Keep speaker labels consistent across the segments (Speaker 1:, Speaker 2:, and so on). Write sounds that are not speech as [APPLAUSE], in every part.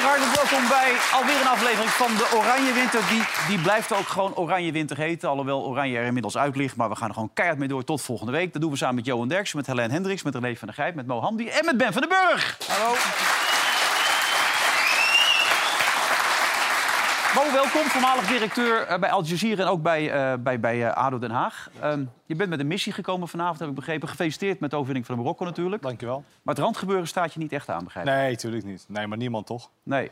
Speaker 1: welkom bij alweer een aflevering van de Oranje Winter. Die, die blijft ook gewoon Oranje Winter heten. Alhoewel Oranje er inmiddels uit ligt. Maar we gaan er gewoon keihard mee door tot volgende week. Dat doen we samen met Johan Derksen, met Helene Hendricks, met René van der Gijp, met Mo Hamdi en met Ben van den Burg. Hallo. Mo, welkom, voormalig directeur eh, bij Al Jazeera en ook bij, eh, bij, bij eh, ADO Den Haag. Ehm, je bent met een missie gekomen vanavond, heb ik begrepen. Gefeliciteerd met de overwinning van Marokko natuurlijk.
Speaker 2: Dankjewel.
Speaker 1: Maar het randgebeuren staat je niet echt aan, begrijp ik?
Speaker 2: Nee, tuurlijk niet. Nee, maar niemand toch?
Speaker 1: Nee.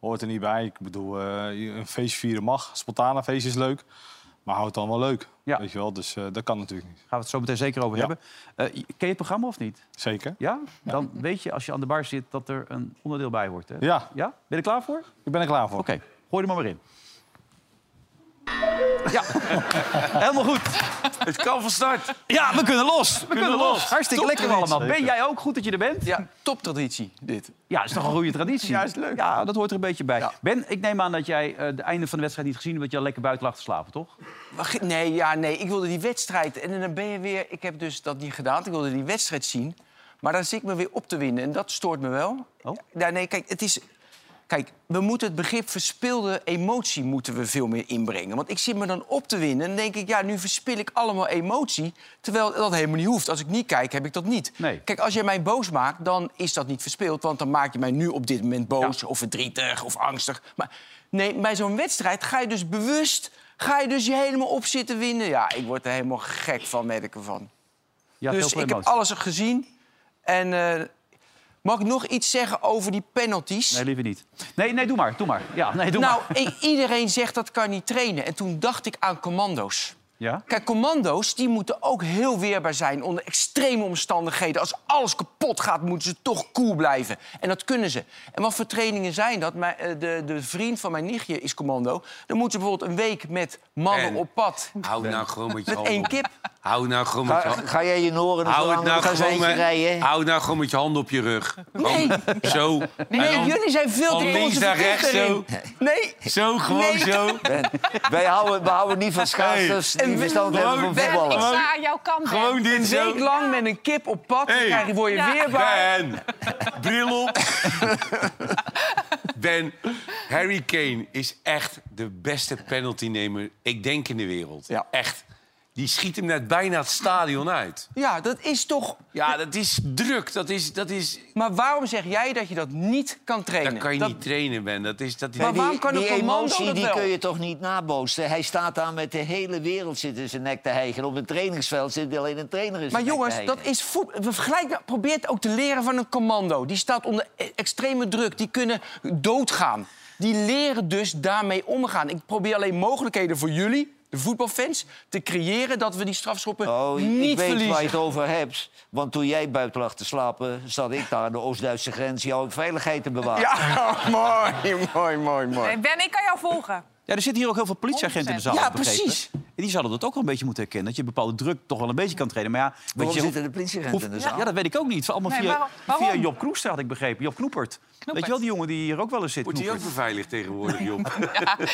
Speaker 2: Hoort er niet bij. Ik bedoel, eh, je- een feest vieren mag. Spontane feest is leuk. Maar houd het dan wel leuk.
Speaker 1: Ja.
Speaker 2: Weet je wel, dus eh, dat kan natuurlijk niet.
Speaker 1: Gaan we het zo meteen zeker over
Speaker 2: Ja.
Speaker 1: hebben. Eh, ken je het programma of niet?
Speaker 2: Zeker.
Speaker 1: Ja? Dan weet je als je aan de bar zit dat er een onderdeel bij hoort. Hè?
Speaker 2: Ja,
Speaker 1: Ja? Ben je er klaar voor? Oké,
Speaker 2: ik ben er klaar voor.
Speaker 1: gooi er maar weer in. Ja, [LAUGHS] helemaal goed.
Speaker 3: Het kan van start.
Speaker 1: Ja, we kunnen los. We kunnen, los. Hartstikke
Speaker 3: Top
Speaker 1: lekker
Speaker 3: traditie.
Speaker 1: allemaal. Ben jij ook goed dat je er bent?
Speaker 3: Ja, toptraditie dit.
Speaker 1: Ja, dat is toch een goede traditie.
Speaker 3: Ja, is leuk.
Speaker 1: Ja, dat hoort er een beetje bij.
Speaker 3: Ja.
Speaker 1: Ben, ik neem aan dat jij eh, het einde van de wedstrijd niet gezien hebt... omdat je al lekker buiten lag te slapen, toch?
Speaker 3: Maar ge- nee, ja, nee, ik wilde die wedstrijd. En dan ben je weer. Ik heb dus dat niet gedaan. want Ik wilde die wedstrijd zien. Maar daar zit ik me weer op te winnen. En dat stoort me wel.
Speaker 1: Oh.
Speaker 3: Ja, nee, kijk, het is. Kijk, we moeten het begrip verspilde emotie moeten we veel meer inbrengen. Want ik zit me dan op te winnen en dan denk ik, ja, nu verspil ik allemaal emotie. Terwijl dat helemaal niet hoeft. Als ik niet kijk, heb ik dat niet.
Speaker 1: Nee.
Speaker 3: Kijk, als jij mij boos maakt, dan is dat niet verspild. Want dan maak je mij nu op dit moment boos of verdrietig of angstig. Maar nee, bij zo'n wedstrijd ga je dus bewust... ga je dus je helemaal op zitten winnen. Ja, ik word er helemaal gek van, merk ik ervan.
Speaker 1: Ja,
Speaker 3: dus ik heb alles gezien. En eh, mag ik nog iets zeggen over die penalties?
Speaker 1: Nee, liever niet. Nee, nee, doe maar. Doe maar. Ja, nee, doe
Speaker 3: nou,
Speaker 1: maar.
Speaker 3: i- iedereen zegt dat kan niet trainen. En toen dacht ik aan commando's.
Speaker 1: Ja?
Speaker 3: Kijk, commando's die moeten ook heel weerbaar zijn onder extreme omstandigheden. Als alles kapot gaat, moeten ze toch cool blijven. En dat kunnen ze. En wat voor trainingen zijn dat? Mijn, eh, de, de vriend van mijn nichtje is commando. Dan moeten ze bijvoorbeeld een week met mannen
Speaker 4: En-
Speaker 3: op pad.
Speaker 4: Hou nou gewoon met je
Speaker 3: Met
Speaker 1: Oh,
Speaker 4: handen
Speaker 3: één
Speaker 4: op.
Speaker 3: kip.
Speaker 4: Hou nou gewoon met je
Speaker 5: Ga,
Speaker 4: handen.
Speaker 5: ga jij je
Speaker 4: Hou,
Speaker 5: noren
Speaker 4: het
Speaker 5: verlangen?
Speaker 4: nou
Speaker 5: Nou ga ze
Speaker 4: gewoon
Speaker 5: eentje
Speaker 4: met,
Speaker 5: rijden.
Speaker 4: hou nou gewoon met je handen op je rug.
Speaker 3: Nee,
Speaker 4: Zo.
Speaker 3: nee jullie zijn veel
Speaker 4: van
Speaker 1: Oh,
Speaker 3: te
Speaker 4: links naar rechts
Speaker 3: conservatief erin. Nee,
Speaker 4: Zo, gewoon
Speaker 3: Nee.
Speaker 4: zo.
Speaker 5: Wij houden, we houden niet van schaatsers
Speaker 3: Hey.
Speaker 5: die verstand hebben
Speaker 4: Ben,
Speaker 5: van
Speaker 6: Ben, ik
Speaker 5: voetballen.
Speaker 6: sta aan jouw kant. Ben.
Speaker 4: Gewoon dit
Speaker 3: week
Speaker 4: zo.
Speaker 3: lang met een kip op pad. Dan
Speaker 4: Hey.
Speaker 3: krijg je, word je
Speaker 6: Ja.
Speaker 3: weerbaar.
Speaker 4: Ben.
Speaker 3: [LAUGHS]
Speaker 4: Bril op. Ben, Harry Kane is echt de beste penaltynemer, ik denk, in de wereld.
Speaker 3: Ja.
Speaker 4: Echt. Die schiet hem net bijna het stadion uit.
Speaker 3: Ja, dat is toch...
Speaker 4: Ja, dat is druk. Dat is... Dat is
Speaker 3: Maar waarom zeg jij dat je dat niet kan trainen?
Speaker 4: dat kan je niet trainen, Ben. Dat is, dat is,
Speaker 3: Maar
Speaker 5: Die-
Speaker 3: waarom kan een
Speaker 5: die
Speaker 3: commando
Speaker 5: emotie
Speaker 3: dat
Speaker 5: die
Speaker 3: wel?
Speaker 5: kun je toch niet nabootsen? Hij staat daar met de hele wereld zit in zijn nek te hijgen. Op een trainingsveld zit alleen een trainer in
Speaker 3: Maar
Speaker 5: zijn
Speaker 3: jongens,
Speaker 5: nek te
Speaker 3: dat
Speaker 5: hijgen.
Speaker 3: is voet. we vergelijken- Probeer het ook te leren van een commando. Die staat onder e- extreme druk. Die kunnen doodgaan. Die leren dus daarmee omgaan. Ik probeer alleen mogelijkheden voor jullie, de voetbalfans, te creëren dat we die strafschoppen
Speaker 5: Oh, ik-
Speaker 3: niet
Speaker 5: ik weet waar je
Speaker 3: verliezen.
Speaker 5: het over hebt. Want toen jij buiten lag te slapen, zat ik daar aan de Oost-Duitse grens jouw veiligheid te bewaren.
Speaker 3: Ja, [LAUGHS] mooi, mooi, mooi, mooi.
Speaker 6: Nee, ben, ik kan jou volgen.
Speaker 1: Ja, er zitten hier ook heel veel politieagenten in de zaal.
Speaker 3: Ja,
Speaker 1: heb ik begrepen.
Speaker 3: precies.
Speaker 1: En die zouden dat ook wel een beetje moeten herkennen. Dat je bepaalde druk toch wel een beetje kan trainen. Maar ja, weet
Speaker 5: Waarom
Speaker 1: je,
Speaker 5: zitten de politieagenten in de
Speaker 3: dus
Speaker 1: hoeft-
Speaker 5: zaal?
Speaker 1: Ja, dat weet ik ook niet. Allemaal
Speaker 6: Nee,
Speaker 1: via,
Speaker 6: waarom- waarom?
Speaker 1: via Job Kroes had ik begrepen. Job Knoepert. Weet je wel, die jongen die hier ook wel eens zit.
Speaker 4: wordt hij ook
Speaker 1: Knoepert.
Speaker 4: beveiligd tegenwoordig, Job?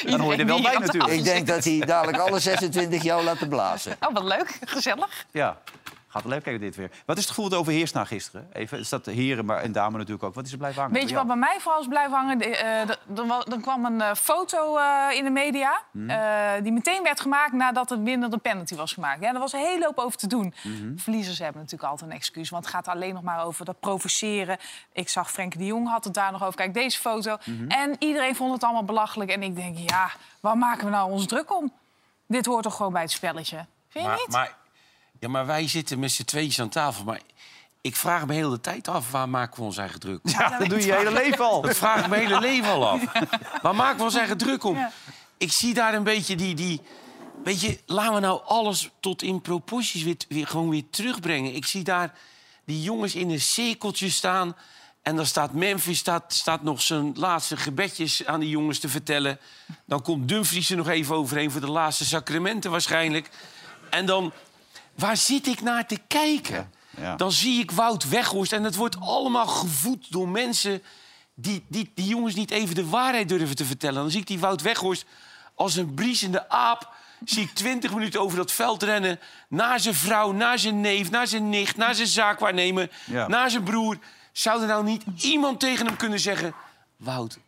Speaker 1: Dan hoor je er wel bij
Speaker 6: Iedereen die
Speaker 1: natuurlijk.
Speaker 5: Ik denk dat hij dadelijk alle 26 jou laat blazen.
Speaker 6: hier- Oh, wat leuk. Gezellig.
Speaker 1: Ja. Gaat leuk kijken dit weer. Wat is het gevoel dat overheerst na gisteren? Even, is dat de heren maar, en dames natuurlijk ook? Wat is er blijven hangen?
Speaker 6: Weet je
Speaker 1: bij
Speaker 6: wat
Speaker 1: jou?
Speaker 6: bij mij vooral is blijven hangen? De- eh, de- dan, wa- dan kwam een eh, foto eh, in de media.
Speaker 1: Mhm.
Speaker 6: eh, die meteen werd gemaakt nadat het winnende penalty was gemaakt. Ja, daar was een hele hoop over te doen.
Speaker 1: Mhm.
Speaker 6: Verliezers hebben natuurlijk altijd een excuus. Want het gaat alleen nog maar over dat provoceren. Ik zag Frenkie de Jong had het daar nog over. Kijk, deze foto.
Speaker 1: Mhm.
Speaker 6: En iedereen vond het allemaal belachelijk. En ik denk, ja, waar maken we nou ons druk om? Dit hoort toch gewoon bij het spelletje? Vind je
Speaker 4: Maar,
Speaker 6: niet?
Speaker 4: maar- ja, maar wij zitten met z'n tweeën aan tafel. Maar ik vraag me heel de tijd af, waar maken we ons eigen druk om?
Speaker 1: Ja, [LAUGHS] dat doe je je hele leven
Speaker 6: [LAUGHS]
Speaker 1: al.
Speaker 4: Dat vraag ik mijn hele leven al af. Waar maken we ons eigen druk om?
Speaker 6: Ja.
Speaker 4: Ik zie daar een beetje die... die weet je, laten we nou alles tot in proporties weer, weer, gewoon weer terugbrengen. Ik zie daar die jongens in een cirkeltje staan... En dan staat Memphis staat, staat nog zijn laatste gebedjes aan die jongens te vertellen. Dan komt Dumfries er nog even overheen voor de laatste sacramenten waarschijnlijk. En dan, waar zit ik naar te kijken?
Speaker 1: ja.
Speaker 4: Dan zie ik Wout Weghorst en het wordt allemaal gevoed door mensen... Die, die, die jongens niet even de waarheid durven te vertellen. Dan zie ik die Wout Weghorst als een briesende aap... zie ik twintig minuten over dat veld rennen... naar zijn vrouw, naar zijn neef, naar zijn nicht, naar zijn zaakwaarnemer...
Speaker 1: Ja.
Speaker 4: naar zijn broer. Zou er nou niet iemand tegen hem kunnen zeggen... Wout,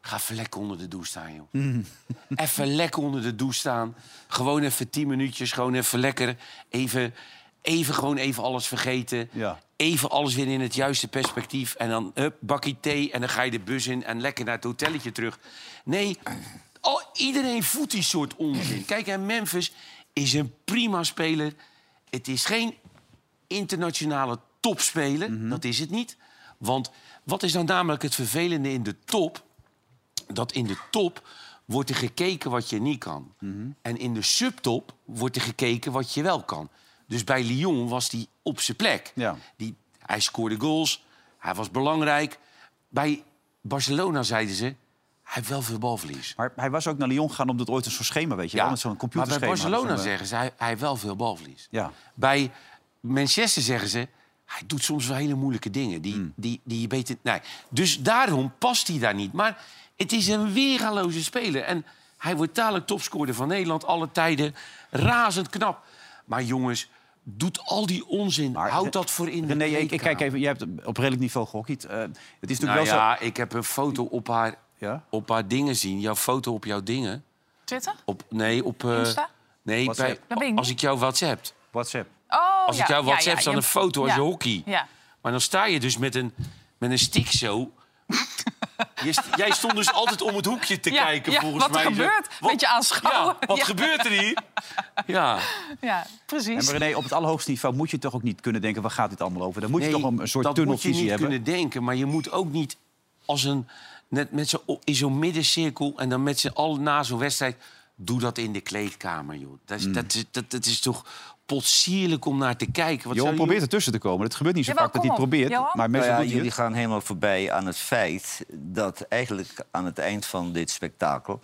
Speaker 4: Ga even lekker onder de douche staan, joh.
Speaker 1: Mm.
Speaker 4: [LAUGHS] Even lekker onder de douche staan. Gewoon even tien minuutjes, gewoon even lekker. Even, even gewoon even alles vergeten.
Speaker 1: Ja.
Speaker 4: Even alles weer in het juiste perspectief. En dan hup, bakkie thee en dan ga je de bus in en lekker naar het hotelletje terug. Nee, al, iedereen voedt die soort onzin. Kijk, en Memphis is een prima speler. Het is geen internationale topspeler.
Speaker 1: Mhm.
Speaker 4: Dat is het niet. Want wat is dan namelijk het vervelende in de top? Dat in de top wordt er gekeken wat je niet kan.
Speaker 1: Mhm.
Speaker 4: En in de subtop wordt er gekeken wat je wel kan. Dus bij Lyon was hij op zijn plek.
Speaker 1: Ja.
Speaker 4: Die, hij scoorde goals, hij was belangrijk. Bij Barcelona zeiden ze, hij heeft wel veel balverlies.
Speaker 1: Maar hij was ook naar Lyon gegaan omdat ooit een zo'n schema, weet je wel? Met zo'n
Speaker 4: maar
Speaker 1: computerschema.
Speaker 4: bij Barcelona
Speaker 1: Zo'n, eh,
Speaker 4: zeggen ze, hij, hij heeft wel veel balverlies.
Speaker 1: Ja.
Speaker 4: Bij Manchester zeggen ze, hij doet soms wel hele moeilijke dingen. Die,
Speaker 1: Hmm.
Speaker 4: die, die je beter, nee. Dus daarom past hij daar niet. Maar het is een weergaloze speler. En hij wordt dadelijk topscorer van Nederland, alle tijden. Razend knap. Maar jongens, doet al die onzin.
Speaker 1: Maar Re-
Speaker 4: Houd dat voor in de
Speaker 1: René, ik, ik kijk
Speaker 4: kleedkamer.
Speaker 1: even, jij hebt op redelijk niveau gehockeyd. Eh, het is natuurlijk
Speaker 4: Nou
Speaker 1: wel zo...
Speaker 4: ja, ik heb een foto op haar,
Speaker 1: Ja?
Speaker 4: op haar dingen zien. Jouw foto op jouw dingen.
Speaker 6: Twitter?
Speaker 4: Op, nee, op... eh,
Speaker 6: Insta?
Speaker 4: Nee, bij,
Speaker 1: WhatsApp.
Speaker 6: Dat weet ik
Speaker 4: als
Speaker 6: niet.
Speaker 4: ik jou WhatsApp.
Speaker 1: WhatsApp.
Speaker 6: Oh,
Speaker 4: Als
Speaker 6: ja,
Speaker 4: ik jou
Speaker 6: ja,
Speaker 4: WhatsApp,
Speaker 6: ja,
Speaker 4: dan
Speaker 6: ja.
Speaker 4: een foto als
Speaker 6: Ja.
Speaker 4: je hockey.
Speaker 6: Ja.
Speaker 4: Maar dan sta je dus met een, met een stick
Speaker 6: [LAUGHS]
Speaker 4: zo. Je st- jij stond dus altijd om het hoekje te
Speaker 6: Ja,
Speaker 4: kijken,
Speaker 6: ja,
Speaker 4: volgens
Speaker 6: wat er
Speaker 4: mij. Zo,
Speaker 6: gebeurt. Beetje aanschouwen.
Speaker 4: Ja, wat
Speaker 6: Ja.
Speaker 4: gebeurt er
Speaker 6: [LAUGHS]
Speaker 4: hier? Ja.
Speaker 6: Ja, precies.
Speaker 1: En maar René, op het allerhoogste niveau moet je toch ook niet kunnen denken... waar gaat dit allemaal over? Dan moet je
Speaker 4: Nee,
Speaker 1: toch een soort
Speaker 4: dat moet
Speaker 1: tunnelvisie
Speaker 4: je niet
Speaker 1: hebben.
Speaker 4: kunnen denken, maar je moet ook niet als een... Net met zo, in zo'n middencirkel en dan met z'n allen na zo'n wedstrijd... Doe dat in de kleedkamer, joh. Dat is,
Speaker 1: Hmm.
Speaker 4: dat, is- dat, dat is toch potsierlijk om naar te kijken. Wat
Speaker 1: Johan
Speaker 4: zou je-
Speaker 1: probeert ertussen te komen. Het gebeurt niet zo
Speaker 6: Jawel,
Speaker 1: vaak dat hij
Speaker 6: kom
Speaker 1: het
Speaker 6: op.
Speaker 1: probeert.
Speaker 6: Johan?
Speaker 1: Maar
Speaker 5: Nou
Speaker 1: meestal
Speaker 5: ja,
Speaker 1: doet hij
Speaker 5: jullie
Speaker 1: het.
Speaker 5: gaan helemaal voorbij aan het feit dat eigenlijk aan het eind van dit spektakel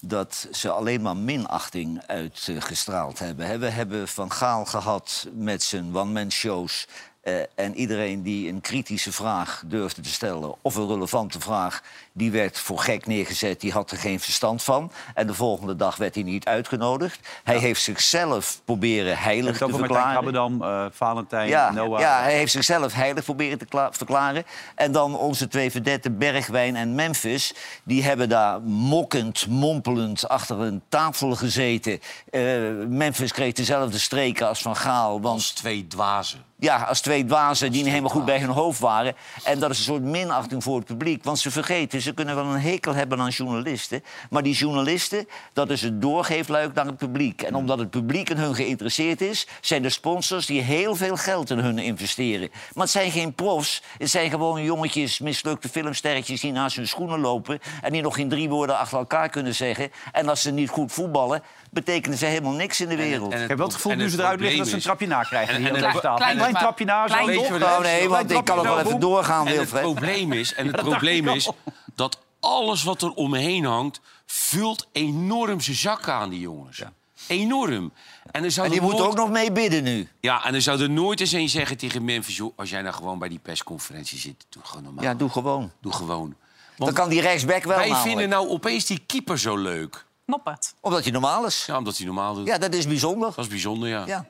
Speaker 5: dat ze alleen maar minachting uitgestraald hebben. hè. We hebben Van Gaal gehad met zijn one-man-shows... eh, en iedereen die een kritische vraag durfde te stellen... of een relevante vraag, die werd voor gek neergezet. Die had er geen verstand van. En de volgende dag werd hij niet uitgenodigd. Hij heeft zichzelf proberen
Speaker 1: Hij
Speaker 5: heilig
Speaker 1: heeft het
Speaker 5: te
Speaker 1: over Martijn
Speaker 5: verklaren.
Speaker 1: Krabbedam, eh, Valentijn,
Speaker 5: Ja,
Speaker 1: Noah.
Speaker 5: ja, hij heeft zichzelf heilig proberen te kla- verklaren. En dan onze twee verdetten, Bergwijn en Memphis... die hebben daar mokkend, mompelend achter een tafel gezeten. Eh, Memphis kreeg dezelfde streken als Van Gaal. Want
Speaker 4: Als twee dwazen.
Speaker 5: ja, als twee dwazen die niet helemaal goed bij hun hoofd waren. En dat is een soort minachting voor het publiek. Want ze vergeten, ze kunnen wel een hekel hebben aan journalisten. Maar die journalisten, dat is het doorgeefluik naar het publiek. En omdat het publiek in hun geïnteresseerd is... zijn de sponsors die heel veel geld in hun investeren. Maar het zijn geen profs. Het zijn gewoon jongetjes, mislukte filmsterretjes... die naast hun schoenen lopen... en die nog geen drie woorden achter elkaar kunnen zeggen. En als ze niet goed voetballen, betekenen ze helemaal niks in de wereld.
Speaker 1: Ik heb wel het gevoel
Speaker 4: En
Speaker 1: nu ze eruit liggen
Speaker 4: probleem
Speaker 1: dat ze een
Speaker 4: is-
Speaker 1: trapje na krijgen.
Speaker 4: En-
Speaker 1: hier
Speaker 4: en
Speaker 1: aan
Speaker 4: het-
Speaker 1: deze tafel.
Speaker 6: klein-
Speaker 1: Een klein
Speaker 6: maar-
Speaker 1: trapje na, zo.
Speaker 6: klein-
Speaker 1: nog.
Speaker 4: Weet je
Speaker 5: Oh
Speaker 4: wat
Speaker 5: nee, want ik kan nog wel even doorgaan,
Speaker 4: En het
Speaker 5: Wilfred.
Speaker 4: probleem is,
Speaker 5: [LAUGHS]
Speaker 4: en het probleem is dat alles wat er omheen hangt, vult enorm zijn zakken aan die jongens. Enorm. En, er zou
Speaker 5: En
Speaker 4: er
Speaker 5: die moet
Speaker 4: nooit-
Speaker 5: ook nog mee bidden nu.
Speaker 4: Ja, en er zou er nooit eens een zeggen tegen Memphis... joh, als jij nou gewoon bij die persconferentie zit, doe gewoon normaal.
Speaker 5: Ja, doe gewoon.
Speaker 4: Doe gewoon.
Speaker 5: Dan
Speaker 4: Want
Speaker 5: kan die rechtsback wel
Speaker 4: wij
Speaker 5: namelijk.
Speaker 4: vinden nou opeens die keeper zo leuk.
Speaker 6: Noppert.
Speaker 5: Omdat hij normaal is.
Speaker 4: Ja, omdat hij normaal doet.
Speaker 5: Ja, dat is bijzonder.
Speaker 4: Dat is bijzonder, ja.
Speaker 5: Ja.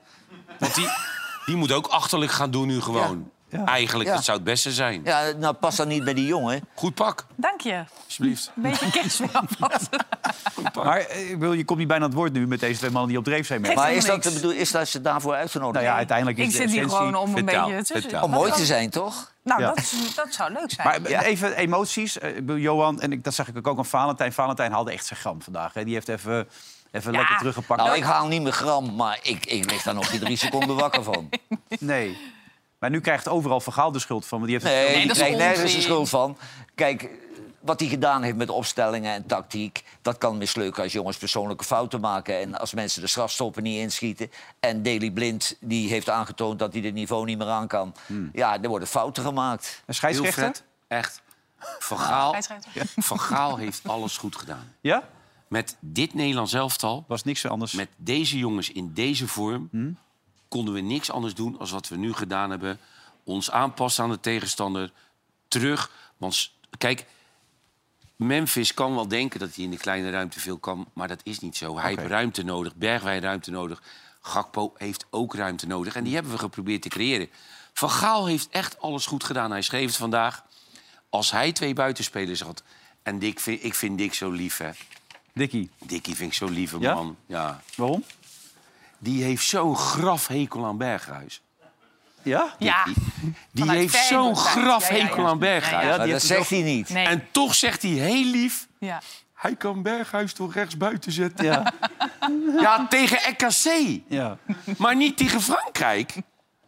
Speaker 4: Want die, die moet ook achterlijk gaan doen nu gewoon. Eigenlijk,
Speaker 5: Ja.
Speaker 4: dat zou het beste zijn.
Speaker 5: ja, nou past dat niet bij die jongen.
Speaker 4: Goed pak,
Speaker 6: Dank je.
Speaker 4: alsjeblieft. [LAUGHS]
Speaker 6: Een beetje kerstweer alvast.
Speaker 1: Maar eh, ik bedoel, je komt niet bijna aan het woord nu met deze twee mannen die op dreef zijn.
Speaker 6: Geeft
Speaker 1: merk ik.
Speaker 5: Maar is dat,
Speaker 6: helemaal
Speaker 5: de
Speaker 6: niks.
Speaker 5: bedoel, is dat ze daarvoor uitgenodigd
Speaker 1: Nou ja, uiteindelijk is
Speaker 6: Ik
Speaker 1: de
Speaker 6: zit hier
Speaker 1: essentie-
Speaker 6: gewoon om een
Speaker 4: Vertaal,
Speaker 6: beetje... tussen-
Speaker 4: vertaal.
Speaker 5: zijn? Om mooi te zijn, toch?
Speaker 6: Nou,
Speaker 1: Ja.
Speaker 6: dat, is- dat zou leuk zijn.
Speaker 1: Maar eh, even emoties. Eh, ik bedoel, Johan, en ik, dat zag ik ook aan Valentijn. Valentijn haalde echt zijn gram vandaag. Hè. Die heeft even, even
Speaker 6: Ja.
Speaker 1: lekker teruggepakt.
Speaker 5: Nou, ik haal niet mijn gram, maar ik, ik lig daar nog geen drie seconden wakker van.
Speaker 1: Nee. Maar nu krijgt overal Vergaal de schuld van. Want die heeft het
Speaker 5: Nee,
Speaker 1: veel-
Speaker 5: ik
Speaker 6: dat is
Speaker 5: krijg nergens
Speaker 6: onzin.
Speaker 5: de schuld van. Kijk, wat hij gedaan heeft met opstellingen en tactiek... dat kan mislukken als jongens persoonlijke fouten maken... en als mensen de strafstoppen niet inschieten. En Daley Blind die heeft aangetoond dat hij dit niveau niet meer aan kan. Ja, er worden fouten gemaakt.
Speaker 1: Een scheidsrechter?
Speaker 4: Wilfred, echt. Van Gaal,
Speaker 6: Scheidsrechter.
Speaker 4: Van Gaal heeft alles goed gedaan.
Speaker 1: Ja?
Speaker 4: Met dit Nederlands elftal,
Speaker 1: Was niks anders.
Speaker 4: met deze jongens in deze vorm... konden we niks anders doen dan wat we nu gedaan hebben. Ons aanpassen aan de tegenstander. Terug. Want s- kijk, Memphis kan wel denken dat hij in de kleine ruimte veel kan. Maar dat is niet zo. Hij heeft ruimte nodig. Bergwijn ruimte nodig. Gakpo heeft ook ruimte nodig. En die hebben we geprobeerd te creëren. Van Gaal heeft echt alles goed gedaan. Hij schreef het vandaag. Als hij twee buitenspelers had En Dick, vind- ik vind Dick zo lief, hè.
Speaker 1: Dikkie,
Speaker 4: Dickie vind ik zo'n lieve
Speaker 1: Ja?
Speaker 4: man. Ja.
Speaker 1: waarom?
Speaker 4: Die heeft zo'n graf hekel aan Berghuis.
Speaker 1: Ja?
Speaker 6: Ja,
Speaker 4: Die
Speaker 6: Vanuit
Speaker 4: heeft zo'n
Speaker 6: Feyenoord.
Speaker 4: graf
Speaker 6: Ja, ja, ja.
Speaker 4: hekel aan Berghuis.
Speaker 6: Ja,
Speaker 1: die
Speaker 5: Maar dat
Speaker 1: heeft het
Speaker 5: zegt hij niet.
Speaker 6: nee.
Speaker 4: En Nou. toch zegt hij heel lief...
Speaker 6: ja.
Speaker 4: Hij kan Berghuis toch rechts buiten zetten?
Speaker 1: Ja.
Speaker 4: Ja, tegen RKC.
Speaker 1: ja.
Speaker 4: Maar niet tegen Frankrijk.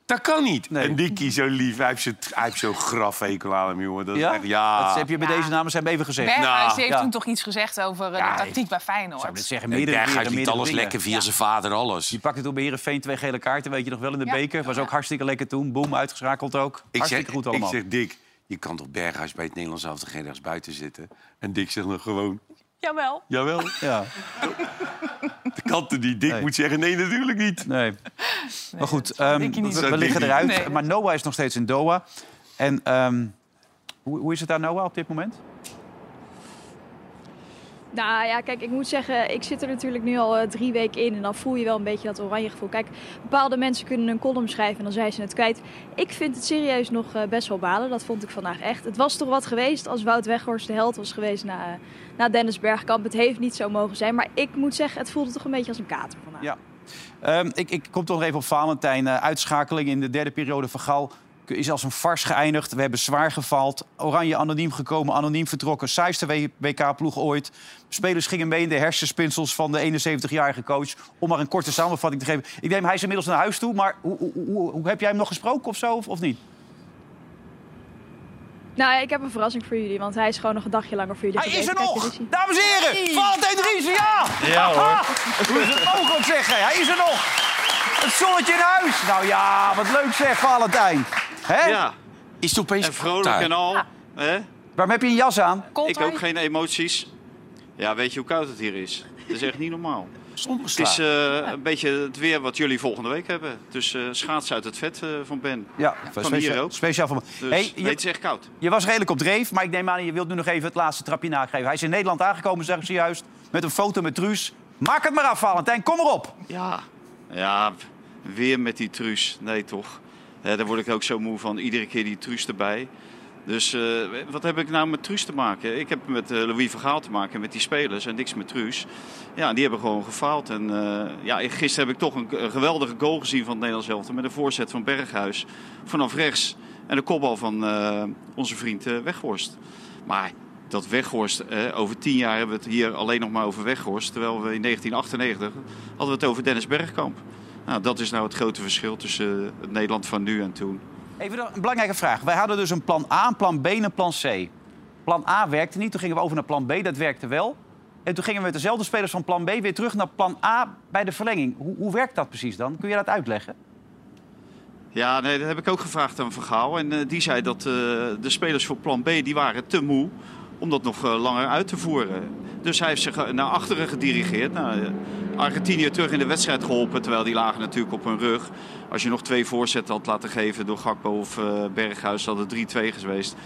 Speaker 4: Dat kan niet.
Speaker 1: Nee.
Speaker 4: En Dickie zo lief. Hij heeft zo'n- hij heeft zo'n grafhekel aan hem, jongen. Dat is
Speaker 1: Ja?
Speaker 4: echt- ja.
Speaker 1: Dat heb je bij
Speaker 6: Ja.
Speaker 1: deze namen zijn we even gezegd.
Speaker 6: Berghuis
Speaker 4: Nou,
Speaker 6: die heeft
Speaker 1: ja.
Speaker 6: toen toch iets gezegd over eh,
Speaker 4: Ja,
Speaker 6: de tactiek bij Feyenoord.
Speaker 1: Zou ik dit zeggen,
Speaker 4: Nee,
Speaker 1: meerdere
Speaker 4: Berghuis
Speaker 1: keren,
Speaker 4: liet
Speaker 1: meerdere
Speaker 4: alles
Speaker 1: dingen.
Speaker 4: lekker via
Speaker 6: Ja.
Speaker 4: zijn vader, alles.
Speaker 1: Die pakte toen bij Heerenveen twee gele kaarten, weet je nog wel, in de
Speaker 6: Ja.
Speaker 1: beker. Was ook hartstikke lekker toen. Boom, uitgeschakeld ook.
Speaker 4: Ik zeg,
Speaker 1: hartstikke goed allemaal.
Speaker 4: ik zeg, Dick, je kan toch Berghuis bij het Nederlands elftal geen rechts buiten zitten? En Dick zegt dan gewoon,
Speaker 6: Jawel.
Speaker 4: jawel,
Speaker 1: Ja,
Speaker 4: de kanten die Dick
Speaker 1: Nee.
Speaker 4: moet zeggen, nee, natuurlijk niet.
Speaker 1: nee. maar goed, ehm,
Speaker 6: denk je niet.
Speaker 1: we, we
Speaker 4: Dat denk
Speaker 1: liggen
Speaker 4: ik
Speaker 1: eruit.
Speaker 6: niet. Nee.
Speaker 1: Maar Noah is nog steeds in Doha. En ehm, hoe, hoe is het daar, Noah, op dit moment?
Speaker 7: Nou ja, kijk, ik moet zeggen, ik zit er natuurlijk nu al eh, drie weken in en dan voel je wel een beetje dat oranje gevoel. Kijk, bepaalde mensen kunnen een column schrijven en dan zijn ze het kwijt. Ik vind het serieus nog eh, best wel balen, dat vond ik vandaag echt. Het was toch wat geweest als Wout Weghorst de held was geweest na, eh, na Dennis Bergkamp. Het heeft niet zo mogen zijn, maar ik moet zeggen, het voelde toch een beetje als een kater vandaag.
Speaker 1: Ja. Ehm, ik, ik kom toch nog even op Valentijn. Eh, uitschakeling in de derde periode van Gal is als een vars geëindigd. We hebben zwaar gefaald. Oranje anoniem gekomen, anoniem vertrokken. Saaiste W- WK-ploeg ooit. Spelers gingen mee in de hersenspinsels van de 71-jarige coach. Om maar een korte samenvatting te geven. Ik neem, hij is inmiddels naar huis toe. Maar hoe, hoe, hoe- hoe- heb jij hem nog gesproken of zo, of, of niet?
Speaker 7: Nou ja, ik heb een verrassing voor jullie, want hij is gewoon nog een dagje langer voor jullie
Speaker 1: Hij is
Speaker 7: gebleven.
Speaker 1: er nog!
Speaker 7: Kijk, daar is hij.
Speaker 1: Dames en heren, Valentijn Driessen, ja!
Speaker 2: Ja hoor.
Speaker 1: Hoe is het ook zeggen? Hij is er nog! Het zonnetje in huis! Nou ja, wat leuk zeg, Valentijn. Hè?
Speaker 8: Ja,
Speaker 4: Is het opeens
Speaker 8: en vrolijk en al. Hè?
Speaker 1: Waarom heb je een jas aan?
Speaker 8: Ik ook geen emoties. Ja, weet je hoe koud het hier is? Dat is echt niet normaal. Het is eh, een beetje het weer wat jullie volgende week hebben. Dus eh, schaatsen uit het vet eh, van Ben.
Speaker 1: Ja,
Speaker 8: van
Speaker 1: speciaal,
Speaker 8: hier ook.
Speaker 1: speciaal voor me. Hey,
Speaker 8: Dus nee, het
Speaker 1: je,
Speaker 8: is echt koud.
Speaker 1: je was redelijk op dreef, maar ik neem aan... je wilt nu nog even het laatste trapje nageven. Hij is in Nederland aangekomen, zeg ik zojuist. Met een foto met Truus. Maak het maar af, Valentijn. Kom erop.
Speaker 8: Ja. Ja, p- weer met die truus. Nee, toch. Eh, daar word ik ook zo moe van. Iedere keer die truus erbij. Dus eh, wat heb ik nou met truus te maken? Ik heb met eh, Louis Vergaal te maken, met die spelers en niks met truus. Ja, die hebben gewoon gefaald. En eh, ja, gisteren heb ik toch een, een geweldige goal gezien van het Nederlands elftal. Met een voorzet van Berghuis vanaf rechts. En de kopbal van eh, onze vriend eh, Weghorst. Maar dat Weghorst, eh, over tien jaar hebben we het hier alleen nog maar over Weghorst. Terwijl we in 1998 hadden we het over Dennis Bergkamp. Nou, dat is nou het grote verschil tussen eh, het Nederland van nu en toen.
Speaker 1: Even nog een belangrijke vraag. Wij hadden dus een plan A, een plan B en een plan C. Plan A werkte niet, toen gingen we over naar plan B. Dat werkte wel. En toen gingen we met dezelfde spelers van plan B weer terug naar plan A bij de verlenging. Hoe, hoe werkt dat precies dan? Kun je dat uitleggen?
Speaker 8: Ja, nee, dat heb ik ook gevraagd aan Vergaal. En eh, die zei dat eh, de spelers voor plan B die waren te moe om dat nog eh, langer uit te voeren. Dus hij heeft zich eh, naar achteren gedirigeerd. Nou, eh, Argentinië terug in de wedstrijd geholpen, terwijl die lagen natuurlijk op hun rug. Als je nog twee voorzetten had laten geven door Gakpo of eh, Berghuis, had het 3-2 geweest.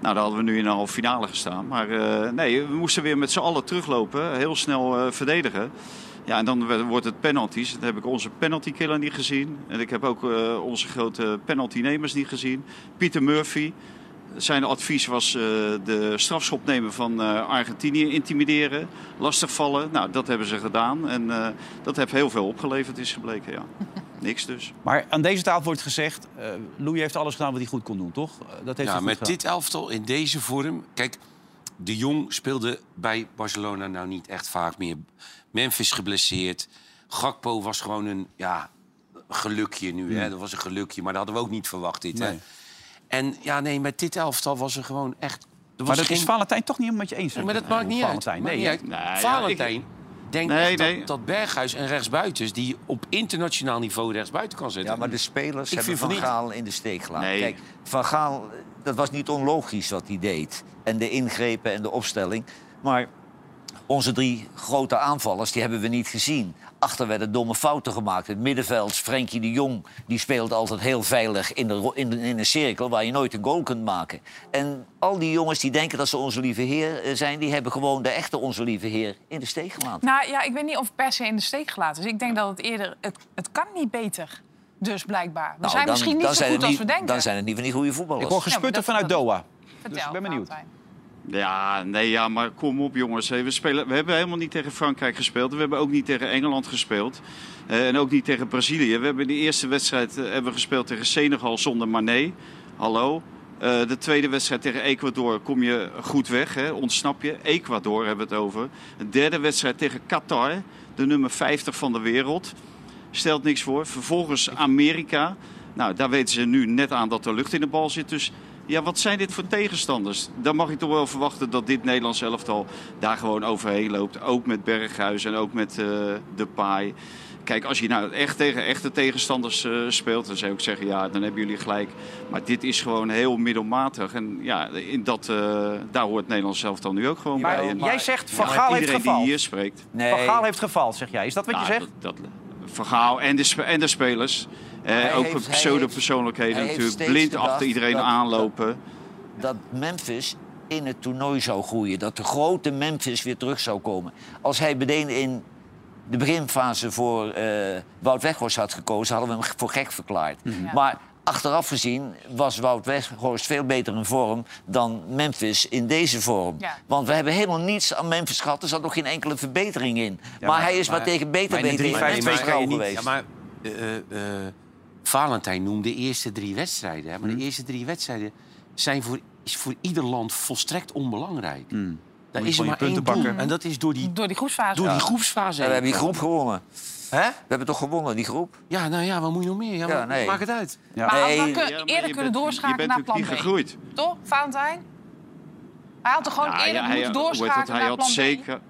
Speaker 8: Nou, daar hadden we nu in de halve finale gestaan. Maar eh, nee, we moesten weer met z'n allen teruglopen, heel snel eh, verdedigen. Ja, en dan we- wordt het penalties. Dan heb ik onze penaltykiller niet gezien. En ik heb ook eh, onze grote penaltynemers niet gezien. Pieter Murphy. Zijn advies was eh, de strafschop nemen van eh, Argentinië intimideren. Lastigvallen. Nou, dat hebben ze gedaan. En eh, dat heeft heel veel opgeleverd, is gebleken. Ja. Niks dus.
Speaker 1: Maar aan deze tafel wordt gezegd... eh Louis heeft alles gedaan wat hij goed kon doen, toch? Eh, Dat heeft hij
Speaker 4: Ja,
Speaker 1: goed
Speaker 4: met
Speaker 1: gedaan.
Speaker 4: dit elftal in deze vorm. Kijk, de Jong speelde bij Barcelona nou niet echt vaak meer. Memphis geblesseerd. Gakpo was gewoon een ja, gelukje nu. Hè? Dat was een gelukje, maar dat hadden we ook niet verwacht. Dit, hè? En ja, nee, met dit elftal was er gewoon echt. Er was
Speaker 1: Maar dat
Speaker 4: geen...
Speaker 1: is Valentijn toch niet helemaal met je eens.
Speaker 4: Nee, maar dat maakt niet uit.
Speaker 1: Valentijn,
Speaker 4: Maakt
Speaker 1: nee,
Speaker 4: niet
Speaker 1: hè?
Speaker 4: uit.
Speaker 8: Nee, ja,
Speaker 4: Valentijn denkt
Speaker 8: Nee,
Speaker 4: echt
Speaker 8: nee.
Speaker 4: Dat, dat Berghuis en rechtsbuitens... die op internationaal niveau rechtsbuiten kan zetten.
Speaker 5: Ja, maar de spelers
Speaker 4: Ik
Speaker 5: hebben
Speaker 4: vind van
Speaker 5: Van
Speaker 4: niet.
Speaker 5: Gaal in de steek gelaten.
Speaker 8: Nee.
Speaker 5: Kijk, Van Gaal, eh, dat was niet onlogisch wat hij deed. En de ingrepen en de opstelling. Maar onze drie grote aanvallers, die hebben we niet gezien. Achter werden domme fouten gemaakt. Het middenveld, Frenkie de Jong, die speelt altijd heel veilig in, de, ro- in, in een cirkel waar je nooit een goal kunt maken. En al die jongens die denken dat ze onze lieve heer eh, zijn, die hebben gewoon de echte onze lieve heer in de steek gelaten.
Speaker 6: Nou ja, ik weet niet of per se in de steek gelaten is. Ik denk dat het eerder... Het, het kan niet beter. Dus blijkbaar. We
Speaker 5: Nou,
Speaker 6: zijn
Speaker 5: dan-
Speaker 6: misschien
Speaker 5: dan
Speaker 6: niet zo
Speaker 5: zijn
Speaker 6: goed
Speaker 5: het
Speaker 6: als we denken.
Speaker 5: Dan zijn het niet van die goede voetballers.
Speaker 1: Ik hoor gesputter
Speaker 6: Ja, maar
Speaker 1: vanuit
Speaker 6: dat-
Speaker 1: Doha.
Speaker 6: Vertel,
Speaker 1: dus ik ben benieuwd.
Speaker 6: Valentijn.
Speaker 8: Ja, nee, ja, maar kom op jongens. Hé, We, spelen, we hebben helemaal niet tegen Frankrijk gespeeld. We hebben ook niet tegen Engeland gespeeld. Eh, en ook niet tegen Brazilië. We hebben in de eerste wedstrijd eh, hebben we gespeeld tegen Senegal zonder Mané. Hallo. Eh, de tweede wedstrijd tegen Ecuador kom je goed weg, hè? ontsnap je. Ecuador hebben we het over. De derde wedstrijd tegen Qatar, de nummer 50 van de wereld. Stelt niks voor. Vervolgens Amerika. Nou, daar weten ze nu net aan dat er lucht in de bal zit. Dus ja, wat zijn dit voor tegenstanders? Dan mag ik toch wel verwachten dat dit Nederlands elftal daar gewoon overheen loopt. Ook met Berghuis en ook met eh De Paai. Kijk, als je nou echt tegen echte tegenstanders eh, speelt, dan zou ik zeggen, ja, dan hebben jullie gelijk. Maar dit is gewoon heel middelmatig. En ja, in dat, eh, daar hoort Nederland zelf dan nu ook gewoon
Speaker 1: Maar
Speaker 8: bij. En,
Speaker 1: Eh, jij zegt, Van
Speaker 8: Ja,
Speaker 1: Gaal heeft
Speaker 8: iedereen die
Speaker 1: gefaald.
Speaker 8: hier spreekt.
Speaker 5: Nee.
Speaker 1: Van Gaal heeft gefaald, zeg jij. Is dat wat je
Speaker 8: Nou,
Speaker 1: zegt?
Speaker 8: Dat, dat, Van Gaal en de, spe- en de spelers. Eh,
Speaker 5: Hij
Speaker 8: ook
Speaker 5: heeft- hij
Speaker 8: pseudo-persoonlijkheden
Speaker 5: heeft- hij heeft
Speaker 8: natuurlijk.
Speaker 5: steeds
Speaker 8: Blind achter
Speaker 5: gedacht
Speaker 8: iedereen
Speaker 5: dat-
Speaker 8: aanlopen.
Speaker 6: Eh,
Speaker 5: dat Memphis in het toernooi zou groeien. Dat de grote Memphis weer terug zou komen. Als hij meteen in de beginfase voor eh, Wout Weghorst had gekozen... hadden we hem voor gek verklaard.
Speaker 6: Mhm. Ja.
Speaker 5: Maar achteraf gezien was Wout Weghorst veel beter in vorm... dan Memphis in deze vorm.
Speaker 6: Ja.
Speaker 5: Want we hebben helemaal niets aan Memphis gehad. Er zat nog geen enkele verbetering in. maar, hij is maar, tegen beter
Speaker 4: Maar in de
Speaker 5: weten in
Speaker 4: 3-5-2
Speaker 5: Memphis
Speaker 4: kan je
Speaker 5: trouw
Speaker 4: niet-
Speaker 5: geweest.
Speaker 4: Ja, maar eh, eh, eh, Valentijn noemde de eerste drie wedstrijden. Hè?
Speaker 1: Hmm.
Speaker 4: Maar de eerste drie wedstrijden zijn voor, is voor ieder land volstrekt onbelangrijk. Daar is er
Speaker 1: Hmm. je
Speaker 4: maar
Speaker 1: punten
Speaker 4: één doel.
Speaker 1: pakken.
Speaker 4: En dat is door die,
Speaker 6: Door die groepsfase.
Speaker 4: door die groepsfase.
Speaker 5: En we
Speaker 4: heen.
Speaker 5: hebben die groep gewonnen.
Speaker 4: Hè?
Speaker 5: We hebben toch gewonnen, die groep?
Speaker 4: Ja, nou ja, wat moet je nog meer? Ja,
Speaker 5: Ja,
Speaker 4: maar
Speaker 5: nee.
Speaker 4: Maak het uit.
Speaker 6: Maar
Speaker 5: Nee.
Speaker 6: hadden we kun-
Speaker 8: Ja, maar
Speaker 6: eerder
Speaker 8: je
Speaker 6: kunnen
Speaker 8: bent-
Speaker 6: doorschakelen
Speaker 8: Je
Speaker 6: naar
Speaker 8: bent
Speaker 6: plan
Speaker 8: natuurlijk
Speaker 6: B.
Speaker 8: niet gegroeid.
Speaker 6: Toch, Valentijn? Hij had er gewoon
Speaker 8: Ja,
Speaker 6: eerder
Speaker 8: ja,
Speaker 6: moeten
Speaker 8: hoe heet dat?
Speaker 6: doorschakelen
Speaker 8: Nou, Hij
Speaker 6: naar
Speaker 8: had
Speaker 6: plan B.
Speaker 8: zeker...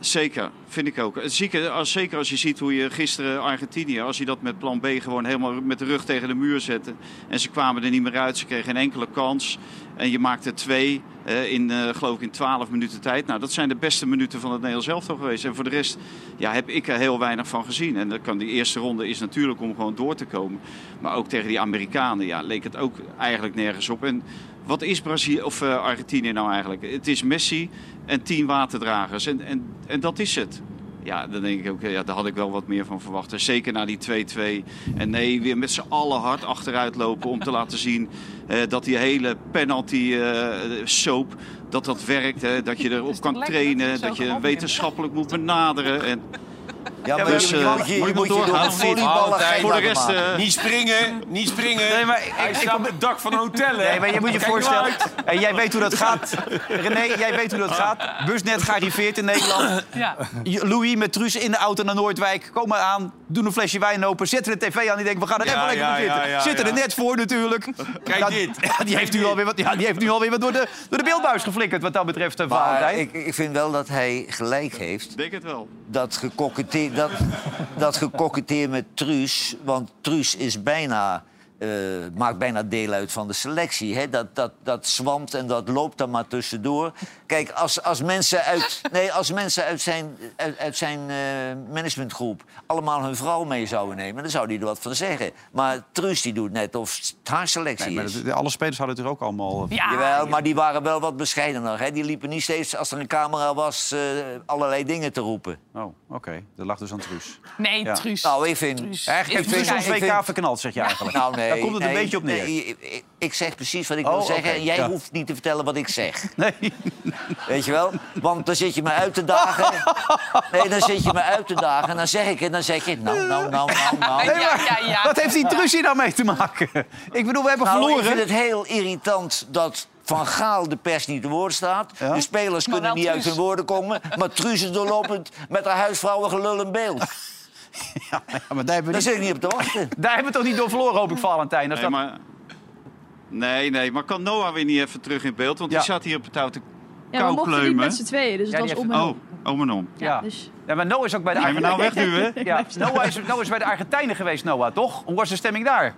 Speaker 8: Zeker, vind ik ook. Zeker als, zeker als je ziet hoe je gisteren Argentinië, als je dat met plan B gewoon helemaal met de rug tegen de muur zette. En ze kwamen er niet meer uit, ze kregen geen enkele kans. En je maakte twee eh, in, eh, geloof ik, in twaalf minuten tijd. Nou, dat zijn de beste minuten van het Nederlands elftal geweest. En voor de rest ja, heb ik er heel weinig van gezien. En dan kan die eerste ronde is natuurlijk om gewoon door te komen. Maar ook tegen die Amerikanen ja, leek het ook eigenlijk nergens op. En wat is Brazilië of eh, Argentinië nou eigenlijk? Het is Messi en tien waterdragers. En, en, en dat is het. Ja, dan denk ik ook, ja, daar had ik wel wat meer van verwacht. En zeker na die 2-2. En nee, weer met z'n allen hard achteruit lopen om te laten zien eh, dat die hele penalty eh soap, dat dat werkt. Hè, dat je
Speaker 6: Dat is
Speaker 8: erop
Speaker 6: toch
Speaker 8: kan
Speaker 6: lekker dat we
Speaker 8: trainen,
Speaker 6: het zo
Speaker 8: dat je
Speaker 6: gewonnen
Speaker 8: wetenschappelijk moet benaderen. En,
Speaker 5: Ja,
Speaker 1: maar
Speaker 8: dus, eh,
Speaker 5: moet je, je
Speaker 8: mag
Speaker 5: moet
Speaker 8: ik nog
Speaker 5: je door de
Speaker 8: doorgaan of niet?
Speaker 5: volleyballen gek
Speaker 8: voor de
Speaker 5: laten
Speaker 8: rest,
Speaker 5: maken.
Speaker 8: eh,
Speaker 4: Niet springen, niet springen.
Speaker 1: Nee, maar ik- ik-
Speaker 4: op het dak van een hotel, hè?
Speaker 1: Nee, maar je moet je
Speaker 4: Kijk maar
Speaker 1: voorstellen.
Speaker 4: uit.
Speaker 1: En jij weet hoe dat gaat. René, jij weet hoe dat gaat. Busnet gearriveerd in Nederland.
Speaker 6: Ja.
Speaker 1: Louis met Truus in de auto naar Noordwijk. Komen aan, doen een flesje wijn open, zetten de tv aan. Die denken, we gaan er
Speaker 2: Ja,
Speaker 1: even lekker
Speaker 2: ja,
Speaker 1: op zitten.
Speaker 2: ja, ja,
Speaker 1: Zitten er
Speaker 2: ja.
Speaker 1: net voor natuurlijk.
Speaker 4: Kijk
Speaker 1: Dat-
Speaker 4: dit.
Speaker 1: [LAUGHS] Ja, die, heeft nu alweer wat, ja, die heeft nu alweer wat door de, door de beeldbuis geflikkerd wat dat betreft, eh,
Speaker 5: Maar
Speaker 1: Valentijn.
Speaker 5: ik, ik vind wel dat hij gelijk heeft.
Speaker 8: denk het wel.
Speaker 5: Dat gekoketteer, dat, dat gekoketteer met Truus. Want Truus is bijna, eh, maakt bijna deel uit van de selectie. Hè? Dat, dat, dat zwamt en dat loopt dan maar tussendoor. Kijk, als, als, mensen, uit, nee, als mensen uit zijn, uit, uit zijn eh, managementgroep allemaal hun vrouw mee zouden nemen, dan zou die er wat van zeggen. Maar Truus die doet net of het haar selectie is.
Speaker 1: alle spelers hadden het er ook allemaal... eh,
Speaker 6: Ah, Ja.
Speaker 5: Jawel, maar die waren wel wat bescheidener. Hè? Die liepen niet steeds, als er een camera was, eh, allerlei dingen te roepen.
Speaker 1: Oh, oké. Dat lag dus aan Truus.
Speaker 6: Nee,
Speaker 1: Ja.
Speaker 6: Truus.
Speaker 5: Nou, ik vind...
Speaker 6: Truus
Speaker 5: Eigenlijk
Speaker 6: is
Speaker 5: vind
Speaker 1: Truus
Speaker 6: Ja,
Speaker 1: ons
Speaker 5: ik
Speaker 1: WK
Speaker 5: vind-
Speaker 1: verknald, zeg je eigenlijk.
Speaker 5: Nou, nee,
Speaker 1: Daar komt het een
Speaker 5: nee,
Speaker 1: beetje op neer.
Speaker 5: nee, ik, ik zeg precies wat ik
Speaker 1: Oh,
Speaker 5: wil zeggen
Speaker 1: oké,
Speaker 5: en jij
Speaker 1: ja.
Speaker 5: hoeft niet te vertellen wat ik zeg.
Speaker 1: [LAUGHS] Nee.
Speaker 5: Weet je wel? Want dan zit je me uit te
Speaker 1: [LAUGHS]
Speaker 5: dagen. Nee, dan zit je me uit te dagen en dan zeg ik het. Dan zeg je, nou, nou, nou, nou, nou.
Speaker 6: Ja, ja, ja.
Speaker 1: Wat heeft die Truus hier nou mee te maken? Ik bedoel, we hebben
Speaker 5: Nou,
Speaker 1: verloren.
Speaker 5: Ik vind het heel irritant dat Van Gaal de pers niet te woord staat.
Speaker 1: Ja?
Speaker 5: De spelers
Speaker 6: Maar
Speaker 5: kunnen
Speaker 6: wel
Speaker 5: niet uit
Speaker 6: Truus.
Speaker 5: hun woorden komen. Maar Truus is doorlopend met haar huisvrouwen gelul in [LAUGHS] beeld.
Speaker 1: Ja, maar daar hebben, we
Speaker 5: Daar
Speaker 1: niet,
Speaker 5: zit ik niet op te wachten.
Speaker 1: daar hebben we toch niet door verloren, hoop ik, Valentijn. Als
Speaker 8: Nee,
Speaker 1: dat...
Speaker 8: maar... Nou, Nee, nee, maar kan Noah weer niet even terug in beeld? Want
Speaker 1: Ja.
Speaker 8: die zat hier op het oude
Speaker 7: Ja, we mochten niet
Speaker 8: Koukleumen.
Speaker 7: met z'n tweeën, dus
Speaker 1: Ja,
Speaker 7: het
Speaker 1: die
Speaker 7: was om en
Speaker 8: Oh,
Speaker 7: om.
Speaker 8: om en om.
Speaker 1: ja.
Speaker 7: dus-
Speaker 1: Ja, maar Noah is ook bij de
Speaker 8: Zijn we
Speaker 1: Argentijnen.
Speaker 8: nou weg nu,
Speaker 6: [LAUGHS]
Speaker 8: hè?
Speaker 1: Ja, Noah is, Noah is bij de Argentijnen geweest, Noah, toch? Hoe was de stemming daar?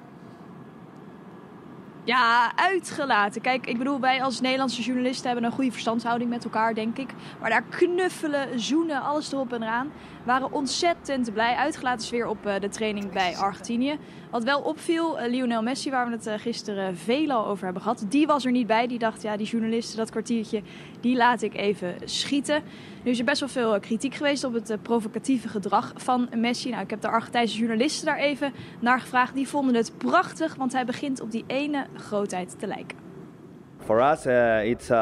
Speaker 7: Ja, uitgelaten. Kijk, ik bedoel, wij als Nederlandse journalisten hebben een goede verstandhouding met elkaar, denk ik. Maar daar knuffelen, zoenen, alles erop en eraan. Waren ontzettend blij. Uitgelaten sfeer op eh, de training bij Argentinië. Wat wel opviel, eh, Lionel Messi, waar we het eh, gisteren veelal over hebben gehad, die was er niet bij. Die dacht, ja, die journalisten, dat kwartiertje, die laat ik even schieten. Nu is er best wel veel eh, kritiek geweest op het eh, provocatieve gedrag van Messi. Nou, ik heb de Argentijnse journalisten daar even naar gevraagd. Die vonden het prachtig, want hij begint op die ene grootheid te lijken.
Speaker 9: for us, uh, it's uh,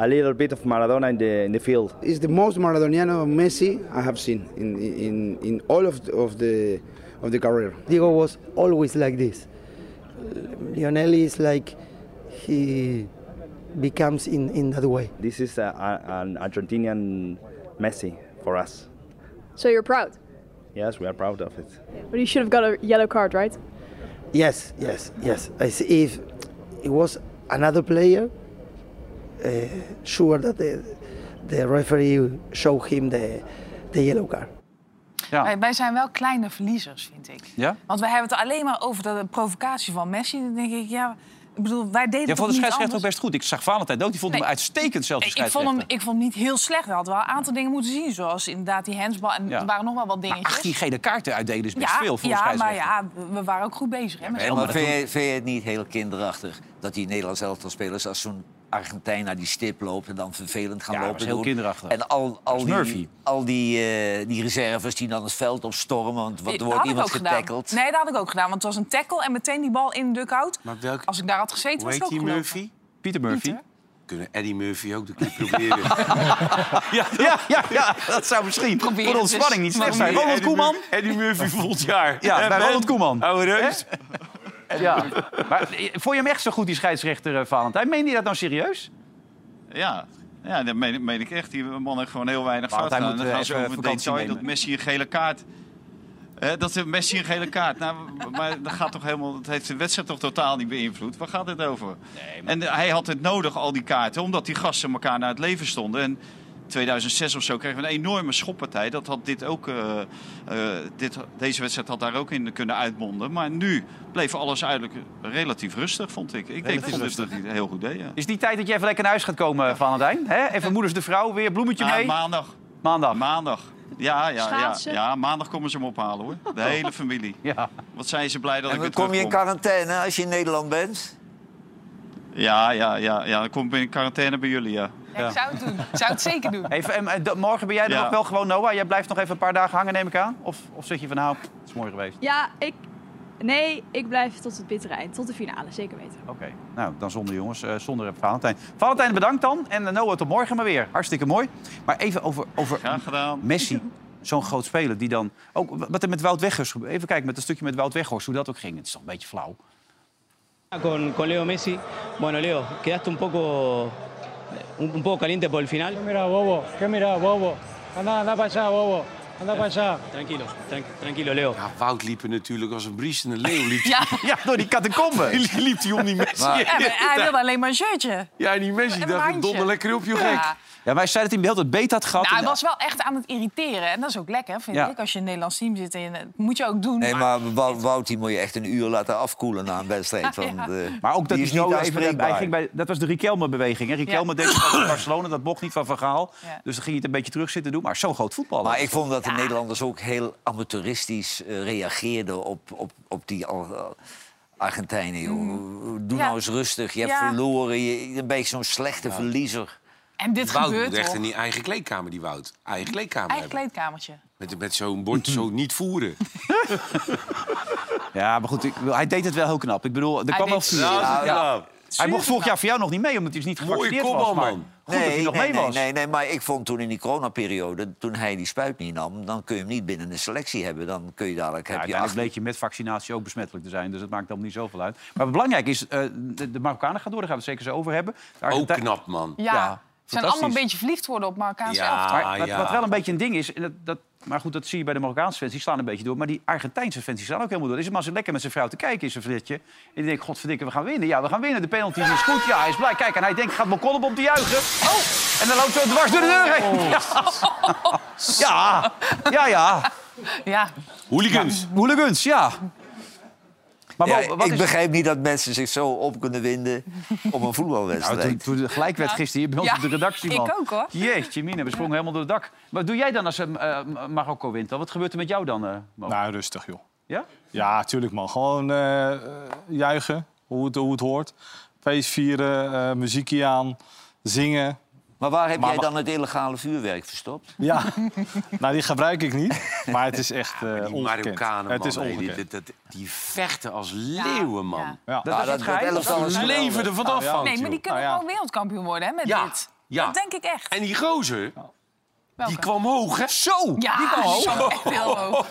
Speaker 9: a little bit of Maradona in the, in the field.
Speaker 10: It's the most Maradoniano Messi I have seen in, in, in all of the, of, the, of the career.
Speaker 11: Diego was always like this. Lionel is like he becomes in, in that way.
Speaker 9: This is a, a, an Argentinian Messi for us.
Speaker 7: So you're proud.
Speaker 9: Yes, we are proud of it.
Speaker 7: But you should have got a yellow card, right?
Speaker 11: Yes, yes, yes. As if it was another player, uh, sure that the, the referee showed him the, the yellow card.
Speaker 1: Ja.
Speaker 6: Wij, wij zijn wel kleine verliezers, vind ik.
Speaker 1: Ja?
Speaker 6: Want wij hebben het alleen maar over de provocatie van Messi. Dan denk ik, ja, ik bedoel, wij deden
Speaker 1: Ja,
Speaker 6: toch
Speaker 1: vond de
Speaker 6: niet
Speaker 1: scheidsrechter ook
Speaker 6: anders?
Speaker 1: best goed. Ik zag Valentijn ook, die vond hem
Speaker 6: Nee.
Speaker 1: uitstekend zelfs de
Speaker 6: Ik- ik, vond hem,
Speaker 1: scheidsrechter.
Speaker 6: ik vond hem niet heel slecht. We hadden wel een aantal dingen moeten zien. Zoals inderdaad die handsbal. En
Speaker 1: Ja.
Speaker 6: er waren nog wel wat dingetjes.
Speaker 1: 18 gele kaarten uitdelen is best
Speaker 6: ja,
Speaker 1: veel voor een
Speaker 6: ja maar
Speaker 1: scheidsrechter.
Speaker 6: ja, we- we waren ook goed bezig. Hè, met z'n
Speaker 5: Ja, Oh, maar
Speaker 6: allen.
Speaker 5: vind je, vind je het niet heel kinderachtig dat die Nederlands elftal spelers als zo'n Argentijn naar die stip loopt en dan vervelend gaan
Speaker 1: Ja, dat
Speaker 5: lopen?
Speaker 1: is heel
Speaker 5: doen?
Speaker 1: kinderachtig.
Speaker 5: En al,
Speaker 1: is
Speaker 5: al
Speaker 1: Murphy.
Speaker 5: die, al die, eh, die reserves die dan het veld opstormen, want wat,
Speaker 6: Dat
Speaker 5: er
Speaker 6: had
Speaker 5: wordt
Speaker 6: ik
Speaker 5: iemand
Speaker 6: ook gedaan.
Speaker 5: getackeld.
Speaker 6: Nee, dat had ik ook gedaan. Want het was een tackle en meteen die bal in de dugout.
Speaker 4: Maar
Speaker 1: Oh,
Speaker 4: welk...
Speaker 6: Als ik daar had gezeten,
Speaker 4: Hoe
Speaker 6: was het
Speaker 4: heet
Speaker 6: ook
Speaker 4: die
Speaker 6: gelopen.
Speaker 4: Murphy?
Speaker 1: Pieter Murphy.
Speaker 4: Kunnen Eddie Murphy ook de keer proberen?
Speaker 1: Ja, ja, ja, ja, dat zou misschien voor
Speaker 6: Probeer
Speaker 1: de
Speaker 6: het
Speaker 1: ontspanning
Speaker 6: eens.
Speaker 1: niet slecht
Speaker 6: Maar
Speaker 1: zijn.
Speaker 6: dus.
Speaker 1: Ronald
Speaker 4: Eddie
Speaker 1: Koeman.
Speaker 4: Mur- Eddie Murphy volgend jaar.
Speaker 1: Ja,
Speaker 4: Eh,
Speaker 1: bij
Speaker 4: Ben,
Speaker 1: Ronald Koeman.
Speaker 4: Oude reus.
Speaker 1: Ja. Maar eh, vond je hem echt zo goed, die scheidsrechter eh, Valentijn? Meende je dat nou serieus?
Speaker 8: Ja, ja dat meen, meen ik echt. Die man heeft gewoon heel weinig
Speaker 1: Want
Speaker 8: fout
Speaker 1: hij
Speaker 8: gedaan.
Speaker 1: moet,
Speaker 8: Dan
Speaker 1: eh,
Speaker 8: gaan ze
Speaker 1: even
Speaker 8: over het
Speaker 1: vakantie
Speaker 8: detail
Speaker 1: nemen.
Speaker 8: dat Messi een gele kaart... Eh, dat heeft Messi een gele kaart. Nou, maar dat, gaat toch helemaal, dat heeft de wedstrijd toch totaal niet beïnvloed? Waar gaat het over? En eh, hij had het nodig, al die kaarten, omdat die gasten elkaar naar het leven stonden. En 2006 of zo kregen we een enorme schoppartij. Dat had dit ook, eh, eh, dit, deze wedstrijd had daar ook in kunnen uitmonden. Maar nu bleef alles eigenlijk relatief rustig, vond ik. Ik denk dat het dat niet heel goed deed. Ja.
Speaker 1: Is die tijd dat je even lekker naar huis gaat komen, eh, Valentijn? Hè? Even moeders de vrouw, weer bloemetje
Speaker 8: Ah,
Speaker 1: mee.
Speaker 8: maandag.
Speaker 1: Maandag.
Speaker 8: Maandag. Ja, ja, ja,
Speaker 7: Schaatsen?
Speaker 8: ja, maandag komen ze hem ophalen hoor. De hele familie.
Speaker 1: Ja.
Speaker 8: Wat zijn ze blij dat
Speaker 5: Oh. En
Speaker 8: ik
Speaker 5: dan
Speaker 8: weer
Speaker 5: kom je in
Speaker 8: terugkom.
Speaker 5: quarantaine als je in Nederland bent.
Speaker 8: Ja, ja, ja, ja. Dan kom ik in quarantaine bij jullie, ja.
Speaker 6: Ja, ik zou het doen. Ik zou het zeker doen.
Speaker 1: Even, en, eh, dat- morgen ben jij er
Speaker 8: Ja.
Speaker 1: nog wel gewoon, Noah? Jij blijft nog even een paar dagen hangen, neem ik aan? Of, of zeg je van, nou, het is mooi geweest.
Speaker 7: Ja, ik... Nee, ik blijf tot het bittere eind. Tot de finale, zeker weten.
Speaker 1: Oké, nou, dan zonder jongens, eh, zonder Valentijn. Valentijn, bedankt dan. En eh, Noah, tot morgen maar weer. Hartstikke mooi. Maar even over, over
Speaker 8: Graag gedaan.
Speaker 1: Messi. Zo'n groot speler die dan... Ook wat er met Wout Weghorst... gebeurde. Even kijken met dat stukje met Wout Weghorst, hoe dat ook ging. Het is toch een beetje flauw.
Speaker 12: Con, con Leo Messi. Bueno, Leo, quedaste un poco, un, un poco caliente por el final.
Speaker 11: Mira, bobo, que mira, bobo. Anda, anda para allá, bobo. Anda para allá.
Speaker 12: Tranquilo, tran- tranquilo, Leo.
Speaker 4: Ja, Wout liep er natuurlijk als een briesende leeuw. Liep,
Speaker 6: Ja,
Speaker 1: Ja, door die catacomben.
Speaker 4: [LAUGHS] die liep hij om die Messi
Speaker 6: ja, maar hij
Speaker 4: heen.
Speaker 6: wilde alleen maar een shirtje.
Speaker 4: Ja, en die Messi
Speaker 6: Een
Speaker 4: dacht,
Speaker 6: mandje.
Speaker 4: donder lekker op, joh gek.
Speaker 6: Ja.
Speaker 1: Ja, wij zeiden dat hij hem de hele tijd beter had gehad.
Speaker 6: Nou, hij
Speaker 1: En-
Speaker 6: was wel echt aan het irriteren. En dat is ook lekker, vind
Speaker 1: Ja.
Speaker 6: ik. Als je in een Nederlands team zit. En je- dat moet je ook doen.
Speaker 5: Nee,
Speaker 6: maar-
Speaker 5: maar Wou- Wout die moet je echt een uur laten afkoelen na een wedstrijd. Want, eh,
Speaker 1: Maar ook dat
Speaker 5: die
Speaker 1: hij
Speaker 5: is
Speaker 1: zo
Speaker 5: niet
Speaker 1: even... Hij
Speaker 5: aanspreekbaar.
Speaker 1: ging bij, dat was de Riquelme-beweging. Hè? Riquelme
Speaker 6: Ja.
Speaker 1: deed het bij Barcelona, dat mocht niet van Van Gaal.
Speaker 6: Ja.
Speaker 1: Dus dan ging hij het een beetje terug zitten doen. Maar zo'n groot voetballer.
Speaker 5: Maar ik vond dat de Nederlanders ook heel amateuristisch eh, reageerden op, op, op die Al- Al- Argentijnen. Joh. Doe
Speaker 6: Mm. Ja.
Speaker 5: nou eens rustig, je hebt
Speaker 6: Ja.
Speaker 5: verloren, je, je bent zo'n slechte verliezer.
Speaker 6: en dit
Speaker 4: Wout
Speaker 6: gebeurt
Speaker 4: moet echt
Speaker 6: toch?
Speaker 4: een eigen kleedkamer, die Wout. Eigen kleedkamer
Speaker 6: Eigen
Speaker 4: hebben.
Speaker 6: kleedkamertje.
Speaker 4: Met, met zo'n bord zo
Speaker 2: Mhm.
Speaker 4: niet
Speaker 2: [LAUGHS]
Speaker 4: voeren.
Speaker 1: Ja, maar goed, ik, wil- hij deed het wel heel knap. Ik bedoel, er kwam
Speaker 6: deed
Speaker 1: wel
Speaker 6: het
Speaker 1: vuur.
Speaker 6: zo
Speaker 1: in.
Speaker 5: Nou, ja.
Speaker 1: Hij mocht vorig jaar voor jou nog niet mee, omdat hij dus niet
Speaker 4: Mooie
Speaker 1: gevaccineerd was.
Speaker 4: kopbal,
Speaker 1: maar
Speaker 4: man.
Speaker 1: Goed dat hij nog mee
Speaker 5: nee,
Speaker 1: was.
Speaker 5: Nee, nee, maar ik vond toen in die coronaperiode, toen hij die spuit niet nam... dan kun je hem niet binnen de selectie hebben. Dan kun je dadelijk...
Speaker 1: Ja,
Speaker 5: heb je
Speaker 1: uiteindelijk
Speaker 5: acht...
Speaker 1: bleek je met vaccinatie ook besmettelijk te zijn. Dus het maakt dan niet zoveel uit. Maar belangrijk is, eh, de, de Marokkanen gaan door. Daar gaan we het zeker zo over hebben. De
Speaker 4: Ook
Speaker 1: Argentijn-
Speaker 4: knap, man.
Speaker 6: Ja.
Speaker 1: Ja,
Speaker 6: Ze zijn
Speaker 1: fantastisch.
Speaker 6: allemaal een beetje verliefd worden op Marokkaanse elftal.
Speaker 1: Maar wat, wat wel een beetje een ding is... En dat, dat, maar goed, dat zie je bij de Marokkaanse fans. Die slaan een beetje door. Maar die Argentijnse fans die slaan ook helemaal door. Is het maar zo lekker met zijn vrouw te kijken in zijn flitje. En die denkt, godverdikke, we gaan winnen. Ja, we gaan winnen. De penalty is goed. Ja, hij is blij. Kijk, en hij denkt, gaat mijn kolom op te juichen. Oh! En dan loopt zo dwars door de deur heen. Ja, ja, ja. ja.
Speaker 6: Ja.
Speaker 4: Hooligans.
Speaker 1: Hooligans, ja. Maar
Speaker 5: Ja,
Speaker 1: Bo, wat
Speaker 5: ik
Speaker 1: is...
Speaker 5: begrijp niet dat mensen zich zo op kunnen winden om een
Speaker 1: Nou,
Speaker 5: voetbalwedstrijd.
Speaker 1: toen, toen het gelijk werd gisteren hier bij ons
Speaker 6: Ja,
Speaker 1: op de redactie,
Speaker 6: ik
Speaker 1: man.
Speaker 6: ook, hoor.
Speaker 1: Jeetje, Mina, we sprongen helemaal door het dak. Wat doe jij dan als eh, eh, Marokko wint? dan? Wat gebeurt er met jou dan, eh, Mo?
Speaker 2: Nou, rustig joh.
Speaker 1: Ja?
Speaker 2: Ja, tuurlijk man. Gewoon eh, eh, juichen, hoe het, hoe het hoort. Feest vieren, eh, muziekje aan, zingen.
Speaker 5: Maar waar heb
Speaker 2: Maar
Speaker 5: jij
Speaker 2: wa-
Speaker 5: dan het illegale vuurwerk verstopt?
Speaker 1: [LAUGHS]
Speaker 2: Ja, nou die gebruik ik niet. Maar het is echt eh
Speaker 4: die
Speaker 2: ongekend.
Speaker 4: Marokkanen,
Speaker 2: het is
Speaker 4: man, hey, die-
Speaker 2: ongekend.
Speaker 4: dat- dat- die vechten als leeuwen, man.
Speaker 2: Ja.
Speaker 4: Ah, Dat is het geheim. Dat is leven er vanaf van.
Speaker 6: Nee, maar die kunnen
Speaker 4: Nou ja.
Speaker 6: gewoon wereldkampioen worden hè, met
Speaker 4: Ja,
Speaker 6: dit.
Speaker 4: ja.
Speaker 6: Dat denk ik echt.
Speaker 4: En die gozer,
Speaker 6: Welke?
Speaker 4: die kwam hoog, hè? Zo!
Speaker 6: Ja,
Speaker 4: die kwam
Speaker 6: die [LAUGHS]
Speaker 4: hoog.
Speaker 6: kwam echt heel hoog.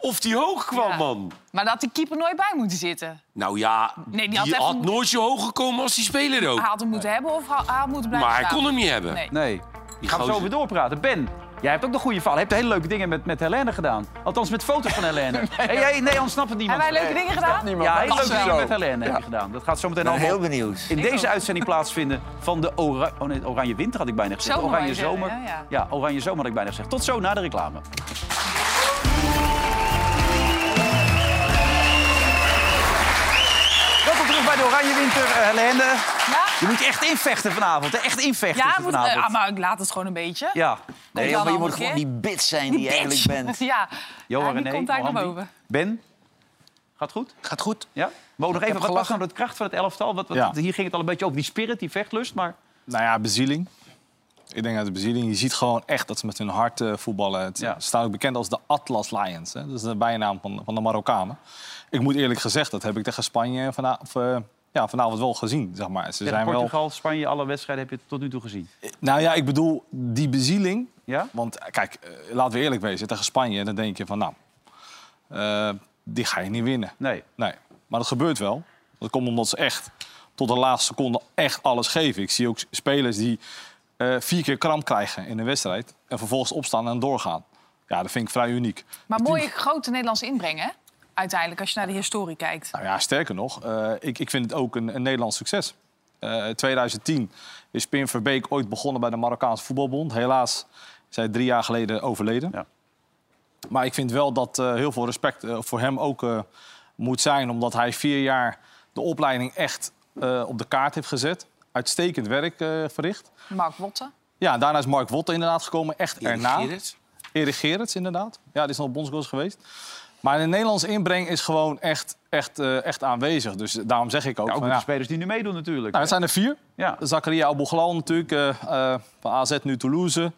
Speaker 4: Of die hoog kwam,
Speaker 6: Ja.
Speaker 4: man.
Speaker 6: Maar dat die keeper nooit bij moeten zitten.
Speaker 4: Nou ja,
Speaker 6: Nee, die
Speaker 4: die,
Speaker 6: had
Speaker 4: had,
Speaker 6: echt een-
Speaker 4: nooit zo hoog gekomen als die speler ook.
Speaker 6: Hij had hem moeten hebben of hij hij had moeten blijven
Speaker 4: Maar hij
Speaker 6: staan.
Speaker 4: kon hem niet hebben.
Speaker 6: Nee.
Speaker 1: Nee. Die gaan we
Speaker 4: gozer.
Speaker 1: zo weer doorpraten. Ben, jij hebt ook de goede verhaal. Je hebt hele leuke dingen met, met Helene gedaan. Althans, met foto's van Helene. nee, jij, nee, ontsnapt het niemand.
Speaker 6: Hebben wij leuke
Speaker 1: Nee.
Speaker 6: dingen gedaan?
Speaker 1: Ja, hele
Speaker 6: Dat
Speaker 1: leuke
Speaker 6: wel.
Speaker 1: dingen met Helene heb je gedaan. Dat gaat zo meteen
Speaker 5: ben
Speaker 1: allemaal
Speaker 5: heel benieuwd.
Speaker 1: in
Speaker 6: Ik
Speaker 1: deze
Speaker 6: ook.
Speaker 1: uitzending plaatsvinden van de ora- oh nee, Oranje Winter, had ik bijna gezegd.
Speaker 6: Zomer,
Speaker 1: oranje
Speaker 6: wou je
Speaker 1: Zomer.
Speaker 6: zeggen, ja,
Speaker 1: Oranje Zomer had ik bijna gezegd. Tot zo na de reclame. Welkom terug bij de Oranje Winter, eh, Helene. Je moet je echt invechten vanavond. hè? Echt invechten
Speaker 6: Ja, moet,
Speaker 1: vanavond.
Speaker 6: ah, maar ik laat het gewoon een beetje.
Speaker 1: Ja.
Speaker 5: Nee,
Speaker 6: dan
Speaker 5: maar je
Speaker 6: allemaal
Speaker 5: moet gewoon
Speaker 6: keer?
Speaker 5: die bitch zijn die,
Speaker 6: Die
Speaker 5: je eigenlijk
Speaker 6: bitch.
Speaker 5: bent.
Speaker 6: [LAUGHS] Ja,
Speaker 1: Johan
Speaker 6: Ja, die
Speaker 1: René,
Speaker 6: komt daar naar
Speaker 1: Mohamdi.
Speaker 6: boven.
Speaker 1: Ben, gaat goed?
Speaker 3: Gaat goed.
Speaker 1: Ja? Mogen nog
Speaker 3: heb
Speaker 1: even wat was
Speaker 3: gelachen.
Speaker 1: nou de kracht van het elftal? Wat, wat,
Speaker 2: Ja.
Speaker 1: Hier ging het al een beetje over die spirit, die vechtlust, maar...
Speaker 2: Nou ja, bezieling. Ik denk uit de bezieling. Je ziet gewoon echt dat ze met hun hart eh, voetballen. Het
Speaker 1: Ja.
Speaker 2: ze staan ook bekend als de Atlas Lions. Hè? Dat is de bijnaam van, van de Marokkanen. Ik moet eerlijk gezegd, dat heb ik tegen Spanje vana- of, eh, ja, vanavond wel gezien. Zeg maar. Ze
Speaker 1: Tegen
Speaker 2: zijn wel...
Speaker 1: Portugal, Spanje, alle wedstrijden heb je tot nu toe gezien.
Speaker 2: Nou ja, ik bedoel, die bezieling.
Speaker 1: Ja?
Speaker 2: Want eh, kijk, eh, laten we eerlijk wezen. Tegen Spanje, dan denk je van nou, eh, die ga je niet winnen.
Speaker 1: Nee.
Speaker 2: Nee, maar dat gebeurt wel. Dat komt omdat ze echt tot de laatste seconde echt alles geven. Ik zie ook spelers die eh, vier keer kramp krijgen in een wedstrijd... en vervolgens opstaan en doorgaan. Ja, dat vind ik vrij uniek.
Speaker 6: Maar
Speaker 2: Het team-
Speaker 6: mooie grote Nederlandse inbreng, hè? Uiteindelijk, als je naar de historie kijkt.
Speaker 2: Nou ja, sterker nog, eh, ik, ik vind het ook een, een Nederlands succes. Eh 2010 is Pim Verbeek ooit begonnen bij de Marokkaanse Voetbalbond. Helaas is hij drie jaar geleden overleden.
Speaker 1: Ja.
Speaker 2: Maar ik vind wel dat eh, heel veel respect eh, voor hem ook eh, moet zijn... omdat hij vier jaar de opleiding echt eh, op de kaart heeft gezet. Uitstekend werk eh, verricht.
Speaker 6: Mark Wotte.
Speaker 2: Ja, en daarna is Mark Wotte inderdaad gekomen, echt
Speaker 4: Erik
Speaker 2: erna.
Speaker 4: Gerrits.
Speaker 2: Erik Gerrits, inderdaad. Ja, die is nog bondscoach geweest. Maar de Nederlandse inbreng is gewoon echt, echt, eh, echt aanwezig. Dus daarom zeg ik ook...
Speaker 1: Ja, ook
Speaker 2: van,
Speaker 1: met
Speaker 2: ja,
Speaker 1: de spelers die nu meedoen natuurlijk.
Speaker 2: nou, dat zijn er vier.
Speaker 1: Ja.
Speaker 2: Zakaria Abouglal natuurlijk, eh, eh, van AZ nu Toulouse.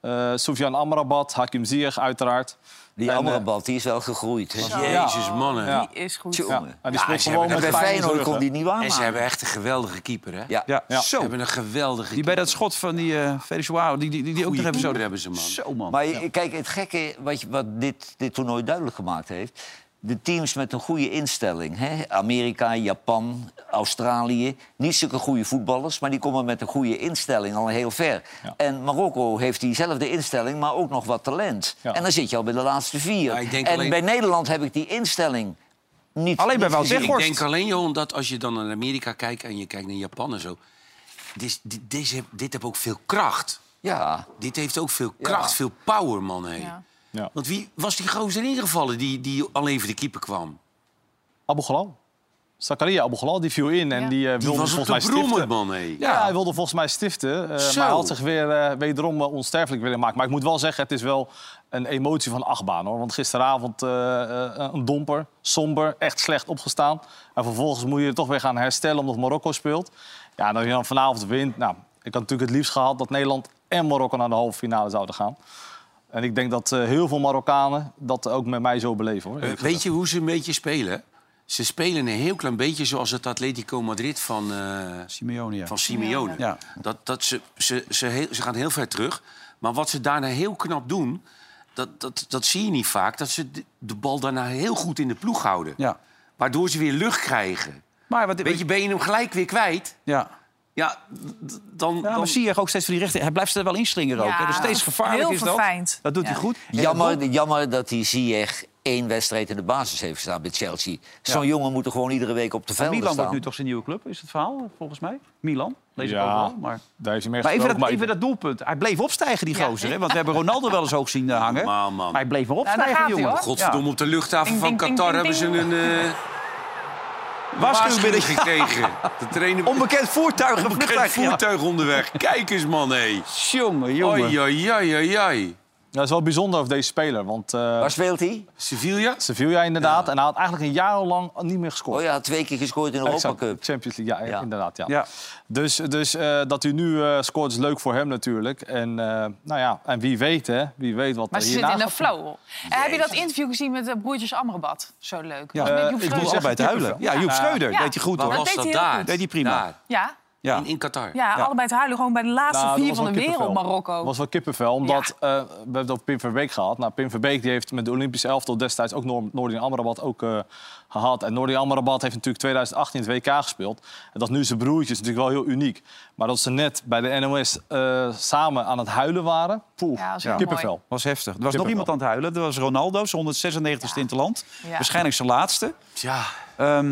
Speaker 2: Eh Soufiane Amrabat, Hakim Ziyech uiteraard.
Speaker 5: Die
Speaker 2: En, eh,
Speaker 5: Amrabat, die is wel gegroeid. Hè?
Speaker 4: Jezus, mannen.
Speaker 2: Ja.
Speaker 6: Die is goed.
Speaker 5: Tjonge.
Speaker 2: Ja, en die
Speaker 4: Ja,
Speaker 2: speelt
Speaker 4: ze
Speaker 2: gewoon
Speaker 4: hebben
Speaker 2: met
Speaker 5: En bij
Speaker 2: Feyenoord
Speaker 5: Feyenoord
Speaker 2: terug,
Speaker 5: kon
Speaker 2: hè.
Speaker 5: die
Speaker 4: En
Speaker 5: niet
Speaker 4: ze hebben
Speaker 5: waarmaken.
Speaker 4: echt een geweldige keeper, hè?
Speaker 5: Ja.
Speaker 1: Ja.
Speaker 2: Ja.
Speaker 4: Ze hebben een geweldige keeper.
Speaker 1: Die bij dat schot van die eh Venezuela, die, die, die, die ook nog
Speaker 4: Goeie
Speaker 1: even zo...
Speaker 4: keeper hebben ze, man.
Speaker 1: Zo, man.
Speaker 5: Maar je- kijk, het gekke wat, je- wat dit, dit toernooi duidelijk gemaakt heeft... de teams met een goede instelling... Hè? Amerika, Japan, Australië... niet zulke goede voetballers... maar die komen met een goede instelling al heel ver. En Marokko heeft diezelfde instelling... maar ook nog wat talent.
Speaker 2: Ja.
Speaker 5: En dan zit je al bij de laatste vier.
Speaker 4: Ja, ik denk
Speaker 5: en
Speaker 4: alleen-
Speaker 5: bij Nederland heb ik die instelling niet
Speaker 1: Alleen bij
Speaker 5: niet
Speaker 1: Wout
Speaker 5: gezien.
Speaker 4: Ik
Speaker 1: Weghorst.
Speaker 4: denk alleen, Johan, dat als je dan naar Amerika kijkt en je kijkt naar Japan en zo... Dit, dit, deze heb- dit heeft ook veel kracht.
Speaker 5: Ja,
Speaker 4: Dit heeft ook veel kracht, veel power, man. hé.
Speaker 6: Ja.
Speaker 2: Ja.
Speaker 4: Want wie was die gozer ingevallen die, die alleen voor de keeper kwam?
Speaker 2: Abouglal. Zakaria Abouglal, die viel in en
Speaker 6: Ja.
Speaker 2: die eh,
Speaker 4: Die
Speaker 2: wilde
Speaker 4: was op
Speaker 2: volgens mij
Speaker 4: de
Speaker 2: stiften.
Speaker 4: brommer, man. hé.
Speaker 2: Ja. hij wilde volgens mij stiften. eh,
Speaker 4: Zo.
Speaker 2: maar hij had zich weer eh, wederom eh, onsterfelijk willen maken. Maar ik moet wel zeggen, het is wel een emotie van achtbaan. Hoor. Want gisteravond eh, eh, een domper, somber, echt slecht opgestaan. En vervolgens moet je er toch weer gaan herstellen omdat Marokko speelt. Ja, en als je dan vanavond wint... Nou, ik had natuurlijk het liefst gehad dat Nederland en Marokko naar de halve finale zouden gaan. En ik denk dat eh, heel veel Marokkanen dat ook met mij zo beleven. Hoor,
Speaker 4: Eh, Weet je hoe ze een beetje spelen? Ze spelen een heel klein beetje zoals het Atletico Madrid van, eh,
Speaker 1: Simeone, ja.
Speaker 4: van Simeone.
Speaker 1: Ja.
Speaker 4: Dat, dat ze, ze, ze, heel- ze gaan heel ver terug. Maar wat ze daarna heel knap doen, dat, dat, dat zie je niet vaak. Dat ze de, de bal daarna heel goed in de ploeg houden.
Speaker 1: Ja.
Speaker 4: Waardoor ze weer lucht krijgen.
Speaker 1: Maar wat...
Speaker 4: Weet je, ben je hem gelijk weer kwijt?
Speaker 1: Ja.
Speaker 4: Ja, d- dan...
Speaker 1: Ja,
Speaker 4: dan
Speaker 1: maar zie je ook steeds van die rechter. Hij blijft er wel inslingeren ook.
Speaker 6: Ja,
Speaker 1: hè. Dus steeds gevaarlijk
Speaker 6: heel
Speaker 1: is dat.
Speaker 6: verfijnd.
Speaker 1: Dat doet
Speaker 6: Ja.
Speaker 1: hij goed. En
Speaker 5: Jammer, jammer dat die Ziyech één wedstrijd in de basis heeft gestaan bij Chelsea. Zo'n jongen moet er gewoon iedere week op de velden
Speaker 1: Milan
Speaker 5: staan.
Speaker 1: wordt nu toch zijn nieuwe club, is het verhaal, volgens mij? Milan, lees ik
Speaker 2: Ja.
Speaker 1: overal. Maar,
Speaker 2: Daar heeft hij mee
Speaker 1: maar even,
Speaker 2: gesproken,
Speaker 1: dat, even dat doelpunt. Hij bleef opstijgen, die gozer. Hè? Want we hebben Ronaldo wel eens hoog zien eh, hangen.
Speaker 4: Normaal, man.
Speaker 1: Maar hij bleef maar
Speaker 6: Nou, daar
Speaker 1: opstijgen,
Speaker 6: gaat hij,
Speaker 1: jongen.
Speaker 6: hoor.
Speaker 4: Godverdomme, op de luchthaven
Speaker 6: Ding,
Speaker 4: van
Speaker 6: ding, ding,
Speaker 4: Qatar
Speaker 6: ding,
Speaker 4: hebben ze een eh,
Speaker 1: Ja.
Speaker 4: waarschuwing
Speaker 1: Waarschuwing
Speaker 4: gekregen. De trainer...
Speaker 1: Onbekend voertuig. een
Speaker 4: Onbekend
Speaker 1: vliegtuig, ja.
Speaker 4: voertuig onderweg. Kijk eens, man, hé.
Speaker 1: Jongen, jongen.
Speaker 4: Oei, oei, oei, oei, oei.
Speaker 2: Dat is wel bijzonder over deze speler. Want, eh, Waar
Speaker 5: speelt hij?
Speaker 4: Sevilla.
Speaker 2: Sevilla inderdaad. En hij had eigenlijk een jaar lang niet meer gescoord.
Speaker 5: Oh ja, twee keer gescoord in de
Speaker 2: Exact,
Speaker 5: Europa Cup.
Speaker 2: Champions League, ja,
Speaker 5: Ja.
Speaker 2: inderdaad. Ja.
Speaker 5: Ja.
Speaker 2: Dus, dus eh, dat hij nu eh, scoort is leuk voor hem natuurlijk. En, eh, nou ja, en wie weet, hè? Wie weet wat
Speaker 6: Maar
Speaker 2: er
Speaker 6: ze
Speaker 2: hierna
Speaker 6: zitten in een
Speaker 2: gaat-
Speaker 6: flow. En heb je dat interview gezien met de broertjes Amrabat? Zo leuk.
Speaker 1: Ja,
Speaker 6: Dat was met
Speaker 1: eh,
Speaker 6: Joep
Speaker 1: ik
Speaker 6: Schreuder.
Speaker 1: moest allebei te huilen. Ja, Joep Schreuder,
Speaker 6: Ja.
Speaker 1: deed je goed
Speaker 6: Waar
Speaker 1: hoor.
Speaker 6: was Dat dat deed hij daar? heel goed.
Speaker 1: Deed hij prima.
Speaker 6: Ja,
Speaker 1: Ja.
Speaker 4: In, in Qatar.
Speaker 6: ja, allebei te huilen. Gewoon bij de laatste
Speaker 2: Nou, dat
Speaker 6: vier
Speaker 2: was
Speaker 6: van de
Speaker 2: wel
Speaker 6: wereld,
Speaker 2: kippenvel.
Speaker 6: Marokko.
Speaker 2: Dat was wel kippenvel, omdat eh, we hebben het over Pim Verbeek gehad. Nou, Pim Verbeek die heeft met de Olympische elftal destijds ook Noor- Noordin Amrabat ook, eh, gehad. En Noordin Amrabat heeft natuurlijk 2018 het WK gespeeld. En dat nu zijn broertje is natuurlijk wel heel uniek. Maar dat ze net bij de NOS eh, samen aan het huilen waren, poeh,
Speaker 6: Ja, dat is heel
Speaker 2: kippenvel.
Speaker 6: mooi.
Speaker 1: was heftig. Er was nog
Speaker 2: Kippenvel.
Speaker 1: iemand aan het huilen. Dat was Ronaldo, zijn 196 e interland.
Speaker 6: Ja.
Speaker 1: Waarschijnlijk zijn laatste. Ehm,
Speaker 4: Ja.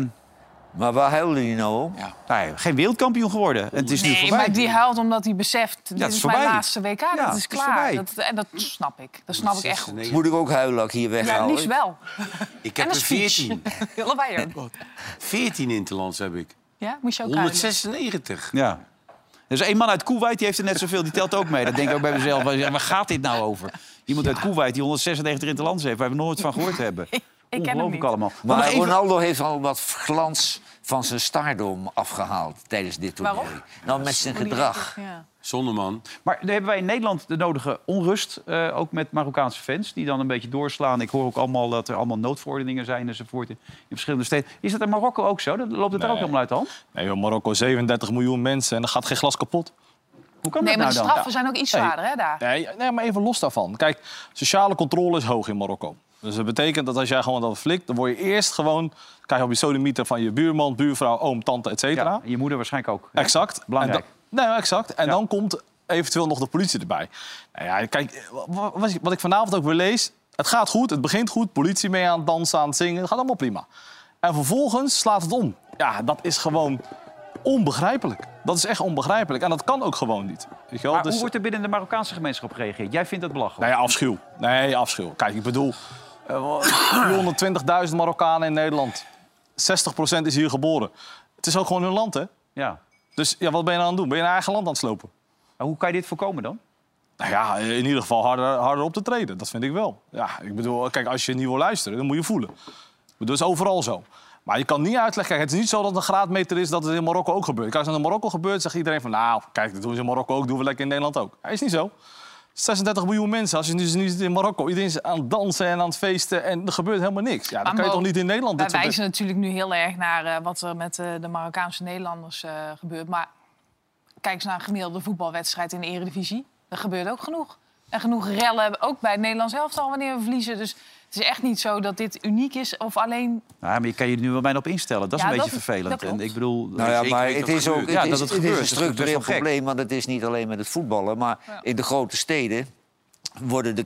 Speaker 5: maar waar huilde hij nou om?
Speaker 1: Nou, geen wereldkampioen geworden. En het is nu
Speaker 6: Nee,
Speaker 1: voorbij.
Speaker 6: maar die huilt omdat hij beseft, dit
Speaker 1: het
Speaker 6: is,
Speaker 1: is
Speaker 6: mijn
Speaker 1: voorbij.
Speaker 6: laatste WK,
Speaker 1: Ja,
Speaker 6: dat
Speaker 1: het
Speaker 6: is
Speaker 1: is
Speaker 6: klaar.
Speaker 1: voorbij.
Speaker 6: Dat, en dat snap ik. Dat snap ik echt goed.
Speaker 5: Moet ik ook huilen als ik hier
Speaker 6: Ja,
Speaker 5: weghaal?
Speaker 6: liefst wel.
Speaker 4: Ik heb
Speaker 6: en
Speaker 4: er
Speaker 6: als fiets.
Speaker 4: 14.
Speaker 6: Allebei er.
Speaker 4: 14 interlands heb ik.
Speaker 6: Ja, moest je ook huilen.
Speaker 4: 196.
Speaker 1: Ja. Er is één man uit Koeweit, die heeft er net zoveel. Die telt ook mee. Dat denk ik ook bij mezelf. Waar waar gaat dit nou over? Iemand uit Koeweit die 196 interlands heeft... waar we nooit van gehoord hebben.
Speaker 6: [LAUGHS] Ik ken hem
Speaker 1: Ongelooflijk
Speaker 6: niet.
Speaker 1: allemaal. Maar nog
Speaker 5: Maar
Speaker 1: even-
Speaker 5: Ronaldo heeft al wat glans van zijn stardom afgehaald tijdens dit toernooi.
Speaker 6: Waarom?
Speaker 5: Nou, met zijn gedrag.
Speaker 6: Ja.
Speaker 4: Zonderman.
Speaker 1: Maar dan hebben wij in Nederland de nodige onrust, eh, ook met Marokkaanse fans, die dan een beetje doorslaan. Ik hoor ook allemaal dat er allemaal noodverordeningen zijn enzovoort in, in verschillende steden. Is dat in Marokko ook zo? Dat, loopt het daar ook
Speaker 2: Nee.
Speaker 1: helemaal uit de hand?
Speaker 2: Nee, joh, Marokko, 37 miljoen mensen en dan gaat geen glas kapot.
Speaker 1: Hoe kan
Speaker 6: Nee,
Speaker 1: dat
Speaker 6: maar
Speaker 1: nou
Speaker 6: de
Speaker 1: dan?
Speaker 6: straffen zijn ook iets
Speaker 2: Nee.
Speaker 6: zwaarder, hè, daar.
Speaker 2: Nee, nee, maar even los daarvan. Kijk, sociale controle is hoog in Marokko. Dus dat betekent dat als jij gewoon dat flikt, dan word je eerst gewoon... krijg je op je sodemieter van je buurman, buurvrouw, oom, tante, et cetera.
Speaker 1: Ja, en je moeder waarschijnlijk ook. hè?
Speaker 2: Exact.
Speaker 1: Belangrijk.
Speaker 2: En dan- nee, exact. En dan komt eventueel nog de politie erbij. Nou ja, kijk, wa- wa- wat, ik- wat ik vanavond ook weer lees... het gaat goed, het begint goed, politie mee aan het dansen, aan het zingen. Het gaat allemaal prima. En vervolgens slaat het om. Ja, dat is gewoon onbegrijpelijk. Dat is echt onbegrijpelijk. En dat kan ook gewoon niet. Weet je wel?
Speaker 1: Maar
Speaker 2: Dus-
Speaker 1: hoe wordt er binnen de Marokkaanse gemeenschap gereageerd? Jij vindt dat belachelijk.
Speaker 2: Nee, afschuw. Nee, afschuw. Kijk, ik bedoel... eh, [CLEARS THROAT] 420.000 Marokkanen in Nederland. 60% is hier geboren. Het is ook gewoon hun land, hè?
Speaker 1: Ja.
Speaker 2: Dus ja, wat ben je nou aan het doen? Ben je naar eigen land aan het slopen?
Speaker 1: Maar hoe kan je dit voorkomen dan?
Speaker 2: Nou ja, in ieder geval harder, harder op te treden. Dat vind ik wel. Ja, ik bedoel, kijk, als je niet wil luisteren, dan moet je voelen. Ik bedoel, dat is overal zo. Maar je kan niet uitleggen. Kijk, het is niet zo dat het een graadmeter is dat het in Marokko ook gebeurt. Kijk, als het in Marokko gebeurt, zegt iedereen van... nou, kijk, dat doen ze in Marokko ook, doen we lekker in Nederland ook. Dat is niet zo. 36 miljoen mensen, als je nu nu zit in Marokko... iedereen is aan het dansen en aan het feesten en er gebeurt helemaal niks. Ja, dan
Speaker 6: Maar
Speaker 2: kan je
Speaker 6: Mo,
Speaker 2: toch niet in Nederland
Speaker 6: Wij
Speaker 2: dit soort...
Speaker 6: wijzen natuurlijk nu heel erg naar eh, wat er met eh, de Marokkaanse Nederlanders eh, gebeurt. Maar kijk eens naar een gemiddelde voetbalwedstrijd in de Eredivisie. Er gebeurt ook genoeg. En genoeg rellen, ook bij het Nederlands elftal wanneer we verliezen. Dus het is echt niet zo dat dit uniek is of alleen...
Speaker 1: Nou, maar je kan je er nu wel bijna op instellen. Dat is
Speaker 6: Ja,
Speaker 1: een beetje
Speaker 6: dat- dat
Speaker 1: vervelend.
Speaker 6: klopt.
Speaker 1: En ik bedoel,
Speaker 5: Nou ja,
Speaker 4: Zeker
Speaker 5: maar
Speaker 4: dat
Speaker 5: het
Speaker 4: dat
Speaker 5: is ook
Speaker 4: gebeurt.
Speaker 5: het
Speaker 1: Ja, dat
Speaker 5: is,
Speaker 1: het
Speaker 5: het is
Speaker 1: gebeurt, dat
Speaker 5: een
Speaker 1: is best
Speaker 5: structureel
Speaker 1: wel gek.
Speaker 5: probleem. Want het is niet alleen met het voetballen. Maar in de grote steden worden de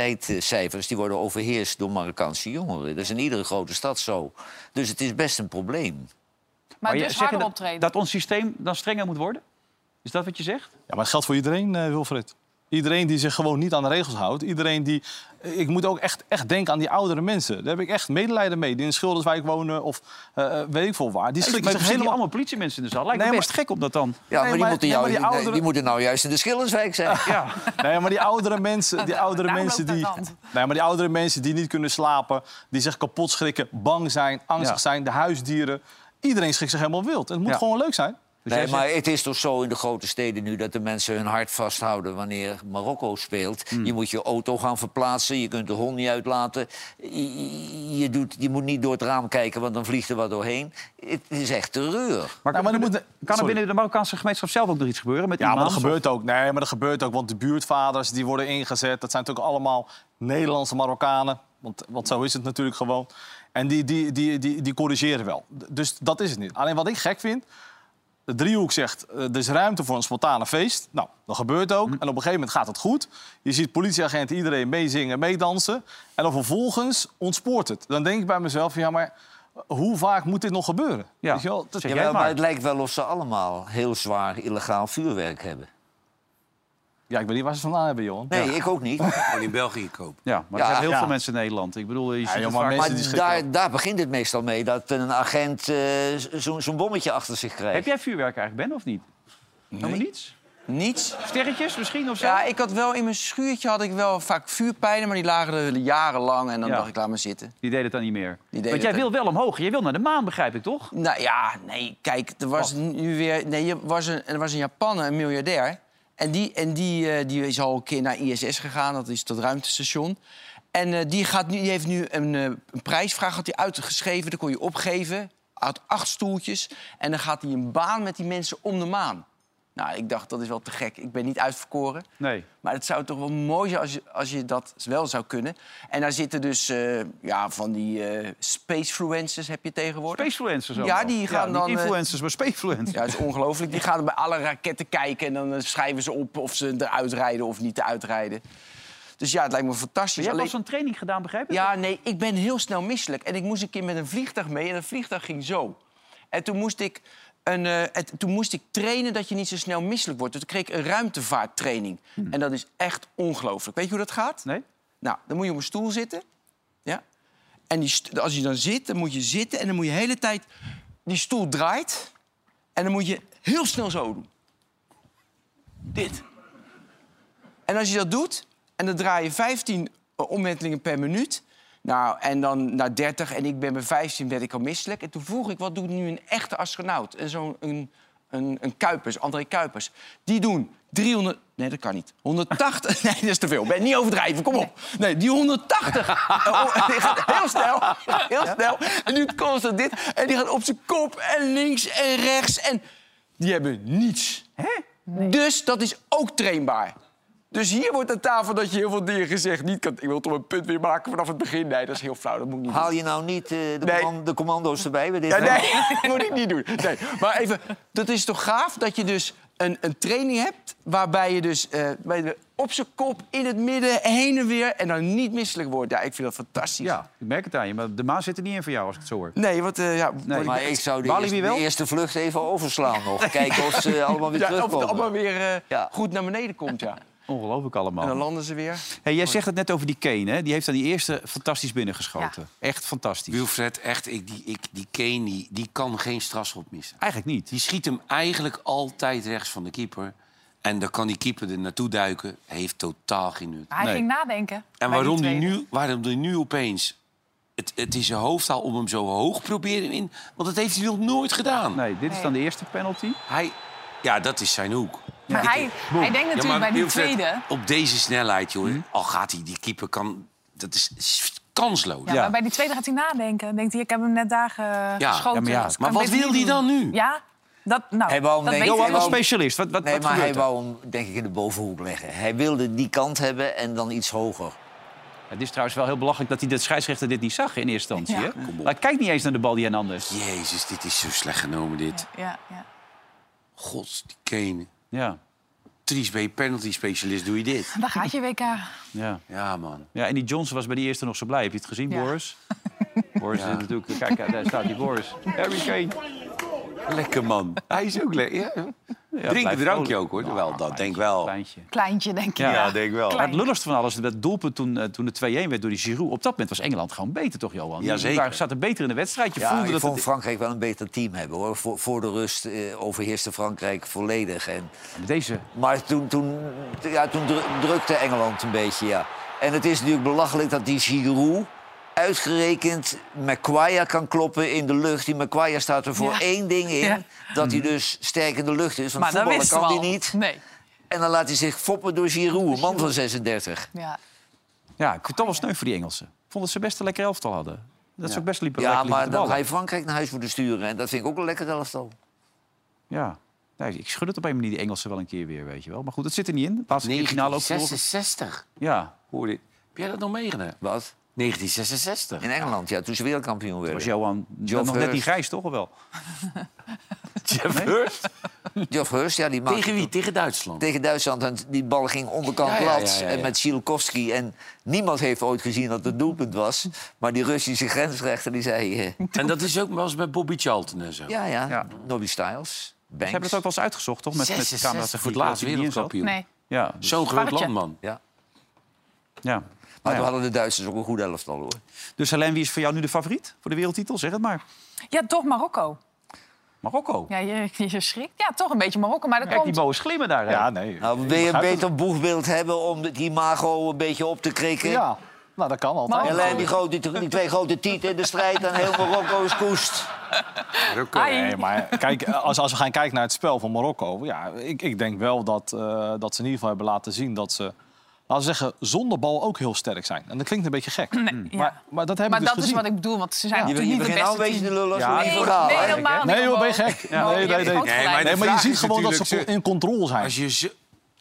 Speaker 5: criminaliteitscijfers... die worden overheerst door Marokkaanse jongeren. Dat is in iedere grote stad zo. Dus het is best een probleem.
Speaker 6: Maar,
Speaker 1: je-
Speaker 6: dus
Speaker 1: zeg je
Speaker 6: harder
Speaker 1: dat,
Speaker 6: optreden.
Speaker 1: dat ons systeem dan strenger moet worden? Is dat wat je zegt?
Speaker 2: Ja, maar het geldt voor iedereen, eh, Wilfred. Iedereen die zich gewoon niet aan de regels houdt. Iedereen die... eh, Ik moet ook echt, echt denken aan die oudere mensen. Daar heb ik echt medelijden mee. Die in Schilderswijk wonen of eh, eh, weet ik veel waar. Die
Speaker 1: Maar
Speaker 2: schrikken
Speaker 1: er
Speaker 2: zich
Speaker 1: zitten
Speaker 2: helemaal...
Speaker 1: allemaal politiemensen in de zaal. Lijkt me
Speaker 2: Nee,
Speaker 1: best gek om dat dan...
Speaker 2: Nee,
Speaker 5: Ja, maar, die,
Speaker 2: maar-
Speaker 5: moeten
Speaker 2: nee,
Speaker 5: jou,
Speaker 2: maar die
Speaker 5: die-
Speaker 2: ouderen-
Speaker 5: die moeten nou juist in de Schillerswijk zijn.
Speaker 1: Ja.
Speaker 2: Nee, maar die oudere mensen, die oudere
Speaker 6: Daarom
Speaker 2: mensen
Speaker 6: loopt
Speaker 2: die,
Speaker 6: dat land.
Speaker 2: nee, maar die oudere mensen die niet kunnen slapen, die zich kapot schrikken, bang zijn, angstig
Speaker 1: Ja.
Speaker 2: zijn, de huisdieren. Iedereen schrikt zich helemaal wild. Het moet
Speaker 1: Ja.
Speaker 2: gewoon leuk zijn.
Speaker 5: Nee, maar het is toch zo in de grote steden nu dat de mensen hun hart vasthouden wanneer Marokko speelt. Je moet je auto gaan verplaatsen, je kunt de hond niet uitlaten. Je, je, doet, je moet niet door het raam kijken, want dan vliegt er wat doorheen. Het is echt terreur.
Speaker 1: Maar,
Speaker 2: Nou,
Speaker 1: kan,
Speaker 2: maar dan
Speaker 1: er binnen-
Speaker 2: moet-
Speaker 1: kan er
Speaker 2: sorry.
Speaker 1: binnen de Marokkaanse gemeenschap zelf ook nog iets gebeuren? Met
Speaker 2: Ja, maar dat
Speaker 1: imams of-
Speaker 2: gebeurt ook. Nee, maar dat gebeurt ook, want de buurtvaders die worden ingezet. Dat zijn natuurlijk allemaal Nederlandse Marokkanen. Want, want zo is het natuurlijk gewoon. En die, die, die, die, die corrigeren wel. D- Dus dat is het niet. Alleen wat ik gek vind... De driehoek zegt, eh, er is ruimte voor een spontane feest. Nou, dat gebeurt
Speaker 1: Hm.
Speaker 2: ook. En op een gegeven moment gaat het goed. Je ziet politieagenten iedereen meezingen, meedansen. En dan vervolgens ontspoort het. Dan denk ik bij mezelf, ja, maar hoe vaak moet dit nog gebeuren?
Speaker 1: Ja.
Speaker 2: Weet je wel? Dat-
Speaker 1: Zeg
Speaker 5: Jawel,
Speaker 1: jij
Speaker 5: maar
Speaker 1: maar.
Speaker 5: het lijkt wel of ze allemaal heel zwaar illegaal vuurwerk hebben.
Speaker 2: ja, ik weet niet waar ze het vandaan hebben, Johan.
Speaker 5: Nee, ik ook niet.
Speaker 4: Gewoon in België kopen.
Speaker 1: Ja, maar er
Speaker 5: Ja.
Speaker 1: zijn heel
Speaker 2: Ja.
Speaker 1: veel mensen in Nederland. Ik bedoel, je ziet het
Speaker 2: joh, maar
Speaker 1: vaak-
Speaker 2: mensen- die
Speaker 5: Maar
Speaker 2: schrikken
Speaker 5: daar, daar begint het meestal mee dat een agent eh, zo- zo'n bommetje achter zich krijgt.
Speaker 1: Heb jij vuurwerk eigenlijk, Ben, of niet? Helemaal niets?
Speaker 3: Niets.
Speaker 1: Sterretjes misschien of zo?
Speaker 3: Ja, ik had wel in mijn schuurtje had ik wel vaak vuurpijlen, maar die lagen er jarenlang. En dan
Speaker 1: Ja.
Speaker 3: dacht ik, laat maar zitten.
Speaker 1: Die deed het dan niet meer.
Speaker 3: deed
Speaker 1: Want jij
Speaker 3: het
Speaker 1: wil wel omhoog. Jij wil naar de maan, begrijp ik toch?
Speaker 3: Nou ja, nee, kijk, er was nu weer. Nee, er was een, er was een Japaner, een miljardair. En die, en die, eh, die is al een keer naar ISS gegaan, dat is dat ruimtestation. En eh, die, gaat nu, die heeft nu een, eh, een prijsvraag had hij uitgeschreven, dat kon je opgeven. Had acht stoeltjes. En dan gaat hij een baan met die mensen om de maan. Nou, ik dacht, dat is wel te gek. Ik ben niet uitverkoren.
Speaker 1: Nee.
Speaker 3: Maar het zou toch wel mooi zijn als je, als je dat wel zou kunnen. En daar zitten dus eh, ja, van die eh spacefluencers heb je tegenwoordig.
Speaker 1: Spacefluencers ook
Speaker 3: Ja,
Speaker 1: wel.
Speaker 3: die gaan
Speaker 1: niet
Speaker 3: dan... eh,
Speaker 1: influencers, maar spacefluencers.
Speaker 3: ja, het is ongelooflijk. Die gaan dan bij alle raketten kijken en dan eh, schrijven ze op of ze eruit rijden of niet eruit rijden. Dus ja, het lijkt me fantastisch.
Speaker 1: je hebt al
Speaker 3: Alleen-
Speaker 1: zo'n training gedaan, begrijp ik?
Speaker 3: ja, nee, ik ben heel snel misselijk. En ik moest een keer met een vliegtuig mee en dat vliegtuig ging zo. En toen moest ik, een, eh, het- toen moest ik trainen dat je niet zo snel misselijk wordt. Dus toen kreeg ik een ruimtevaarttraining. En dat is echt ongelooflijk. Weet je hoe dat gaat?
Speaker 1: Nee.
Speaker 3: Nou, dan moet je op een stoel zitten. Ja. En die st- als je dan zit, dan moet je zitten en dan moet je de hele tijd... Die stoel draait en dan moet je heel snel zo doen. Dit. En als je dat doet, en dan draai je 15 omwentelingen per minuut. Nou, en dan naar 30 en ik ben bij 15 werd ik al misselijk. En toen vroeg ik, wat doet nu een echte astronaut? En zo'n een, een, een Kuipers, André Kuipers. Die doen 300... Nee, dat kan niet. 180... [LAUGHS] Nee, dat is te veel. Ben niet overdrijven, kom op. Nee, die 180... Eh, oh, [LAUGHS] die gaat heel snel, heel snel. En nu constant dit. En die gaat op zijn kop en links en rechts. En die hebben niets. Dus dat is ook trainbaar. Dus hier wordt aan tafel dat je heel veel dingen gezegd niet kan. Ik wil toch een punt weer maken vanaf het begin. Nee, dat is heel flauw. Dat moet ik niet
Speaker 5: Haal je nou niet eh, de,
Speaker 3: Nee.
Speaker 5: command- de commando's erbij? Bij dit
Speaker 3: doen. Ja,
Speaker 5: verhaal?
Speaker 3: nee, [LAUGHS] dat moet ik niet doen. Nee. Maar even, dat is toch gaaf dat je dus een, een training hebt... waarbij je dus eh, bij de- op zijn kop, in het midden, heen en weer... en dan niet misselijk wordt. Ja, ik vind dat fantastisch.
Speaker 1: Ja, ik merk het aan je. Maar de maan zit er niet in voor jou, als ik het zo hoor.
Speaker 3: Nee, want... eh, ja,
Speaker 1: Nee,
Speaker 5: Maar ik zou de,
Speaker 1: Walibi
Speaker 5: eerste,
Speaker 1: wel?
Speaker 5: de eerste vlucht even overslaan nog. Kijken of ze allemaal weer
Speaker 3: ja, of het
Speaker 5: terugkomen.
Speaker 3: allemaal weer eh,
Speaker 5: Ja. Oh.
Speaker 3: goed naar beneden komt, ja.
Speaker 1: Ongelooflijk
Speaker 3: En dan
Speaker 1: allemaal.
Speaker 3: landen ze weer.
Speaker 1: Hey, jij zegt het net over die Kane, hè? Die heeft aan die eerste fantastisch binnengeschoten. Echt fantastisch.
Speaker 4: Wilfred, echt, ik, die, ik, die Kane die, die kan geen strafschop missen.
Speaker 1: Eigenlijk niet.
Speaker 4: Die schiet hem eigenlijk altijd rechts van de keeper. En dan kan die keeper er naartoe duiken. Heeft totaal geen nut.
Speaker 6: Hij ging nadenken. bij
Speaker 4: En waarom die
Speaker 6: tweede.
Speaker 4: nu, waarom die nu opeens... Het, het is zijn hoofd al om hem zo hoog proberen in... Want dat heeft hij nog nooit gedaan.
Speaker 1: Nee, dit is dan de eerste penalty.
Speaker 4: Hij, ja, dat is zijn hoek.
Speaker 6: Maar hij, hij denkt natuurlijk
Speaker 4: Ja, maar
Speaker 6: bij die
Speaker 4: Wilfred,
Speaker 6: tweede... Hm?
Speaker 4: Op deze snelheid, joh. Al gaat hij, die keeper kan... Dat is s- kansloos.
Speaker 6: Ja, Maar bij die tweede gaat hij nadenken. Denkt hij, ik heb hem net daar eh,
Speaker 4: ja,
Speaker 6: geschoten.
Speaker 4: maar ja.
Speaker 6: dat kan
Speaker 4: Maar
Speaker 6: ik
Speaker 4: wat
Speaker 6: beter
Speaker 4: wil
Speaker 6: niet
Speaker 4: hij
Speaker 6: doen.
Speaker 4: dan nu?
Speaker 6: Ja, dat, nou,
Speaker 5: Hij wou
Speaker 6: dat
Speaker 5: hem
Speaker 6: weet
Speaker 5: denken-
Speaker 6: ik
Speaker 5: hij
Speaker 1: Johan als
Speaker 5: wou-
Speaker 1: specialist, wat, wat,
Speaker 5: Nee,
Speaker 1: wat
Speaker 5: maar
Speaker 1: gebeurt
Speaker 5: hij
Speaker 1: er?
Speaker 5: wou hem denk ik in de bovenhoek leggen. Hij wilde die kant hebben en dan iets hoger.
Speaker 1: Het is trouwens wel heel belachelijk dat hij de scheidsrechter dit niet zag in eerste instantie.
Speaker 6: Ja.
Speaker 1: Hè? Hij kijkt niet eens naar de bal die aan anders.
Speaker 4: Jezus, dit is zo slecht genomen, dit.
Speaker 6: Ja, ja.
Speaker 4: God, die Kane.
Speaker 1: Ja,
Speaker 4: Tries ben je penalty specialist, doe je dit.
Speaker 6: Daar gaat je WK.
Speaker 1: ja.
Speaker 4: Ja, man.
Speaker 1: ja, en die Johnson was bij die eerste nog zo blij. Heb je het gezien,
Speaker 6: Ja.
Speaker 1: Boris? Boris is natuurlijk... Kijk, daar staat die Boris. Harry Kane.
Speaker 4: Lekker, man. Hij is ook lekker. Ja.
Speaker 1: Ja,
Speaker 4: Drink
Speaker 1: blijft
Speaker 4: een drankje
Speaker 1: vrolijk.
Speaker 4: ook, hoor.
Speaker 1: Nou,
Speaker 4: wel, dat
Speaker 1: kleintje,
Speaker 4: denk wel.
Speaker 1: kleintje.
Speaker 6: Kleintje, denk ik.
Speaker 1: Ja,
Speaker 4: denk wel.
Speaker 1: Maar het lulligste van alles, dat doelpunt toen, eh, toen het 2-1 werd door die Giroud... op dat moment was Engeland gewoon beter, toch, Johan?
Speaker 4: Ja, zeker.
Speaker 1: Daar zaten beter in de wedstrijd. Je
Speaker 5: Ja,
Speaker 1: voelde
Speaker 5: ik
Speaker 1: dat
Speaker 5: vond
Speaker 1: het-
Speaker 5: Frankrijk wel een beter team hebben, hoor. Voor, voor de rust eh, overheerste Frankrijk volledig. En,
Speaker 1: Deze...
Speaker 5: maar toen, toen, ja, toen dru- drukte Engeland een beetje, ja. En het is natuurlijk belachelijk dat die Giroud uitgerekend Maguire kan kloppen in de lucht. Die Maguire staat er voor
Speaker 6: Ja.
Speaker 5: één ding in,
Speaker 6: Ja.
Speaker 5: dat hij dus sterk in de lucht is. Want
Speaker 6: Maar dat
Speaker 5: voetballen
Speaker 6: wist
Speaker 5: kan
Speaker 6: hij
Speaker 5: hij niet.
Speaker 6: Nee.
Speaker 5: En dan laat hij zich foppen door Giroud, een man van 36.
Speaker 6: Ja.
Speaker 1: Ja, ik vond het toch wel sneu voor die Engelsen. Ik vond dat ze best een lekker elftal hadden. Dat ze ook best liepen
Speaker 5: Ja,
Speaker 1: lekker liepen
Speaker 5: maar
Speaker 1: te
Speaker 5: dan
Speaker 1: ballen.
Speaker 5: ga je Frankrijk naar huis moeten sturen. En dat vind ik ook een lekker elftal.
Speaker 1: Ja. Nee, ik schud het op een manier, die Engelsen wel een keer weer, weet je wel. Maar goed, het zit er niet in. De laatste keer finale ook verloren.
Speaker 4: 1966.
Speaker 1: Ja,
Speaker 4: Hoor dit. Heb jij dat nog meegenomen?
Speaker 5: Wat?
Speaker 4: 1966.
Speaker 5: In Engeland, ja, toen ze wereldkampioen
Speaker 1: was
Speaker 5: werden.
Speaker 1: Johan nog
Speaker 5: Geoff
Speaker 1: net niet
Speaker 5: Hurst.
Speaker 1: grijs, toch? Of wel?
Speaker 4: Jeff Hurst.
Speaker 5: Geoff Hurst, ja, die maakte
Speaker 4: Tegen wie? Tegen Duitsland.
Speaker 5: tegen Duitsland. En die bal ging onderkant
Speaker 4: Ja, ja,
Speaker 5: plat.
Speaker 4: ja, ja,
Speaker 5: En
Speaker 4: ja.
Speaker 5: met Sielkowski. En niemand heeft ooit gezien dat het doelpunt was. Maar die Russische grensrechter die zei...
Speaker 3: [LAUGHS]
Speaker 5: eh,
Speaker 4: En dat is ook wel eens bij Bobby Charlton en zo.
Speaker 5: ja, ja,
Speaker 1: Ja.
Speaker 5: Nobby Styles, Banks.
Speaker 1: Ze hebben het ook wel eens uitgezocht, toch? Met, met de camera's
Speaker 4: 66
Speaker 1: en
Speaker 4: voor het
Speaker 1: die-
Speaker 4: laatst
Speaker 1: die niet in zat.
Speaker 4: wereldkampioen.
Speaker 6: Nee.
Speaker 1: Ja, dus-
Speaker 4: Zo'n groot
Speaker 6: Sparretje.
Speaker 4: landman.
Speaker 5: Ja.
Speaker 1: ja.
Speaker 5: Maar
Speaker 1: Nou
Speaker 5: toen
Speaker 1: ja.
Speaker 5: hadden de Duitsers ook een goed elftal, hoor.
Speaker 1: Dus Helene, wie is voor jou nu de favoriet voor de wereldtitel? Zeg het maar.
Speaker 6: ja, toch Marokko.
Speaker 1: Marokko.
Speaker 6: Ja, je, je schrikt. Ja, toch een beetje Marokko. Maar dat
Speaker 1: Kijk, die
Speaker 6: komt...
Speaker 1: boos glimmen daar. hè?
Speaker 2: Ja, nee.
Speaker 5: Nou, wil je een beter boegbeeld hebben om het imago een beetje op te krikken?
Speaker 2: Ja, nou, dat kan altijd.
Speaker 5: En lijn die, grote, die twee grote tieten in de strijd aan heel Marokko is koest.
Speaker 6: Ah,
Speaker 2: Nee, maar kijk, als, als we gaan kijken naar het spel van Marokko... Ja, ik, ik denk wel dat, eh, dat ze in ieder geval hebben laten zien dat ze... Laten we zeggen, zonder bal ook heel sterk zijn. En dat klinkt een beetje gek. Hmm.
Speaker 6: Nee, ja.
Speaker 2: Maar, maar dat hebben we
Speaker 6: Maar dat
Speaker 2: dus
Speaker 6: is
Speaker 2: gezien.
Speaker 6: wat ik bedoel, want ze zijn
Speaker 2: Ja.
Speaker 5: Je,
Speaker 6: natuurlijk
Speaker 5: je
Speaker 6: niet de
Speaker 5: begint nou een
Speaker 6: beste
Speaker 5: beetje te
Speaker 6: team.
Speaker 5: lullen als
Speaker 2: Ja.
Speaker 5: we
Speaker 6: Nee,
Speaker 5: één verhaal
Speaker 6: nee,
Speaker 5: eigenlijk, hè?
Speaker 6: helemaal niet.
Speaker 2: Nee, joh, ben je
Speaker 6: Boos.
Speaker 2: gek?
Speaker 6: Ja.
Speaker 2: Nee,
Speaker 6: Je
Speaker 2: nee,
Speaker 6: hebt
Speaker 2: nee.
Speaker 6: groot
Speaker 2: Nee,
Speaker 6: gelijk.
Speaker 2: Nee, maar je
Speaker 4: vraag
Speaker 2: ziet
Speaker 4: is
Speaker 2: gewoon dat ze
Speaker 4: natuurlijk,
Speaker 2: in controle zijn.
Speaker 4: Als je zo-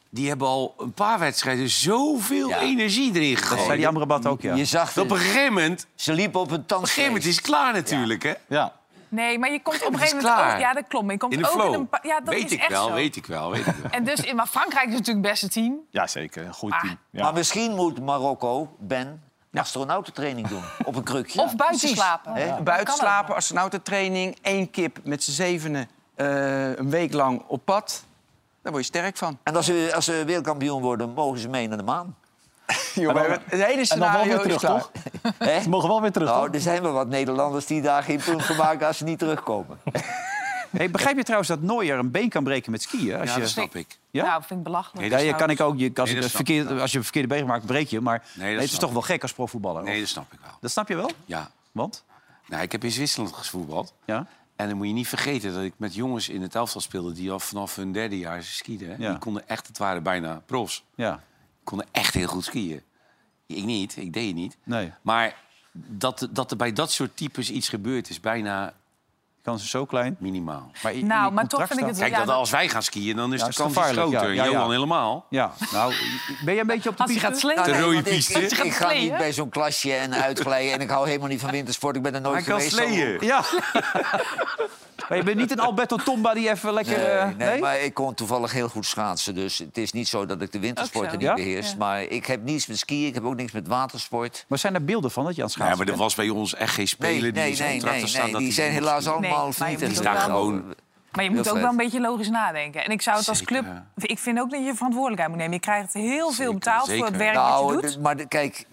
Speaker 4: die hebben al een paar wedstrijden zoveel energie erin
Speaker 1: Dat zei
Speaker 4: gegooid.
Speaker 1: die Amrabat ook, ja.
Speaker 5: Je zag
Speaker 4: Dat op een
Speaker 5: het.
Speaker 4: gegeven moment, op
Speaker 5: Ze liepen op een
Speaker 4: een gegeven moment
Speaker 5: tand.
Speaker 4: is het klaar natuurlijk, hè?
Speaker 2: Ja.
Speaker 6: Nee, maar je komt op een
Speaker 4: Het is
Speaker 6: gegeven moment
Speaker 4: klaar.
Speaker 6: ook... Ja, dat klopt. maar Je komt
Speaker 4: In de
Speaker 6: ook
Speaker 4: flow.
Speaker 6: in een... pa- Ja, dat
Speaker 4: weet
Speaker 6: is
Speaker 4: ik
Speaker 6: echt
Speaker 4: wel,
Speaker 6: zo.
Speaker 4: weet ik wel, weet ik
Speaker 6: [LAUGHS]
Speaker 4: wel.
Speaker 6: En dus, in- maar Frankrijk is natuurlijk het beste team.
Speaker 2: ja, zeker. Een goed team. Ja.
Speaker 5: Maar misschien moet Marokko, Ben, astronautentraining
Speaker 4: [LAUGHS]
Speaker 5: doen. Op een krukje.
Speaker 6: Of buiten slapen.
Speaker 5: Hè?
Speaker 6: Dat
Speaker 3: Buiten
Speaker 6: kan ook.
Speaker 3: slapen, astronautentraining, één kip met z'n zevenen eh, een week lang op pad. Daar word je sterk van.
Speaker 5: En als ze, als ze wereldkampioen worden, mogen ze mee naar de maan.
Speaker 3: Joh, we hebben- het hele
Speaker 2: En dan wel
Speaker 3: scenario
Speaker 2: weer
Speaker 3: is
Speaker 2: terug,
Speaker 3: klaar.
Speaker 2: toch?
Speaker 5: Hè?
Speaker 2: Ze mogen wel weer terug,
Speaker 5: Nou,
Speaker 2: toch?
Speaker 5: er zijn wel wat Nederlanders die daar geen punt van maken als ze niet terugkomen.
Speaker 1: Hey, begrijp je trouwens dat Neuer een been kan breken met skiën? Als
Speaker 4: Ja,
Speaker 1: je...
Speaker 4: dat snap ik.
Speaker 1: Ja?
Speaker 6: Nou, vind ik belachelijk.
Speaker 1: Ja, je kan ik ook, je, als,
Speaker 4: Nee,
Speaker 1: ik
Speaker 4: dat
Speaker 1: het
Speaker 4: snap
Speaker 1: verkeerd, als je een verkeerde been maakt, breek je. Maar
Speaker 4: Nee, dat
Speaker 1: het is
Speaker 4: snap
Speaker 1: toch
Speaker 4: ik.
Speaker 1: wel gek als profvoetballer?
Speaker 4: Nee,
Speaker 1: of-
Speaker 4: dat snap ik wel.
Speaker 1: Dat snap je wel?
Speaker 4: Ja.
Speaker 1: Want?
Speaker 4: Nou, ik heb in Zwitserland gevoetbald.
Speaker 1: Ja.
Speaker 4: En dan moet je niet vergeten dat ik met jongens in het elftal speelde... die al vanaf hun derde jaar skieden. hè.
Speaker 1: Ja.
Speaker 4: Die konden echt, het waren bijna profs.
Speaker 1: Ja.
Speaker 4: konden echt heel goed skiën. Ik niet, ik deed het niet.
Speaker 1: Nee.
Speaker 4: Maar dat, dat er bij dat soort types iets gebeurt, is bijna
Speaker 1: Kans is zo klein.
Speaker 4: minimaal.
Speaker 1: Maar in- in
Speaker 6: Nou,
Speaker 1: je
Speaker 6: maar toch
Speaker 1: contract
Speaker 6: vind ik het
Speaker 1: staat-
Speaker 4: Kijk,
Speaker 6: Ja,
Speaker 4: dat
Speaker 6: dat-
Speaker 4: als wij gaan skiën, dan is
Speaker 1: Ja,
Speaker 4: de
Speaker 1: is
Speaker 4: kans iets
Speaker 1: gevaarlijk, ja,
Speaker 4: groter.
Speaker 1: ja, ja.
Speaker 4: Johan helemaal.
Speaker 1: Ja, nou, ben jij een beetje op de
Speaker 6: Als hij
Speaker 1: piste?
Speaker 6: gaat slingen.
Speaker 5: Nou,
Speaker 4: De rode
Speaker 5: want ik-
Speaker 4: piste.
Speaker 5: Ik,
Speaker 6: Gaat
Speaker 5: ik ga niet
Speaker 6: sleeën?
Speaker 5: bij zo'n klasje en uitglijden. En ik hou helemaal niet van wintersport. Ik ben er nooit
Speaker 4: Hij kan
Speaker 5: geweest.
Speaker 4: sleeën.
Speaker 1: Ja. [LAUGHS] maar je bent niet een Alberto Tomba die even lekker...
Speaker 5: Nee,
Speaker 1: eh,
Speaker 5: nee, maar ik kon toevallig heel goed schaatsen. Dus het is niet zo dat ik de wintersporten
Speaker 6: Ook
Speaker 5: niet
Speaker 6: zo.
Speaker 1: Ja?
Speaker 5: beheerst. Maar ik heb niets met skiën, ik heb ook niks met watersport.
Speaker 1: Maar zijn er beelden van dat je aan het
Speaker 4: Ja,
Speaker 1: schaatsen
Speaker 4: maar er was bij ons echt geen speler
Speaker 5: Nee,
Speaker 4: die
Speaker 5: nee,
Speaker 4: in zijn
Speaker 5: nee,
Speaker 4: contract
Speaker 5: nee,
Speaker 4: had staan.
Speaker 5: nee.
Speaker 4: dat
Speaker 5: Die
Speaker 4: hij
Speaker 5: zijn
Speaker 4: moest-
Speaker 5: helaas allemaal
Speaker 6: Nee, maar je
Speaker 5: vernietigd.
Speaker 6: moet
Speaker 4: ook
Speaker 5: Ja,
Speaker 4: wel-
Speaker 5: gewoon-
Speaker 6: Maar je moet
Speaker 5: Heel
Speaker 6: ook
Speaker 5: vet.
Speaker 6: wel een beetje logisch nadenken. En ik zou het als
Speaker 4: Zeker,
Speaker 6: club... Ik vind ook dat je verantwoordelijkheid moet nemen. Je krijgt heel veel
Speaker 4: Zeker,
Speaker 6: betaald voor het
Speaker 4: zeker.
Speaker 6: werk
Speaker 5: Nou,
Speaker 6: dat je doet.
Speaker 5: d- maar d- kijk,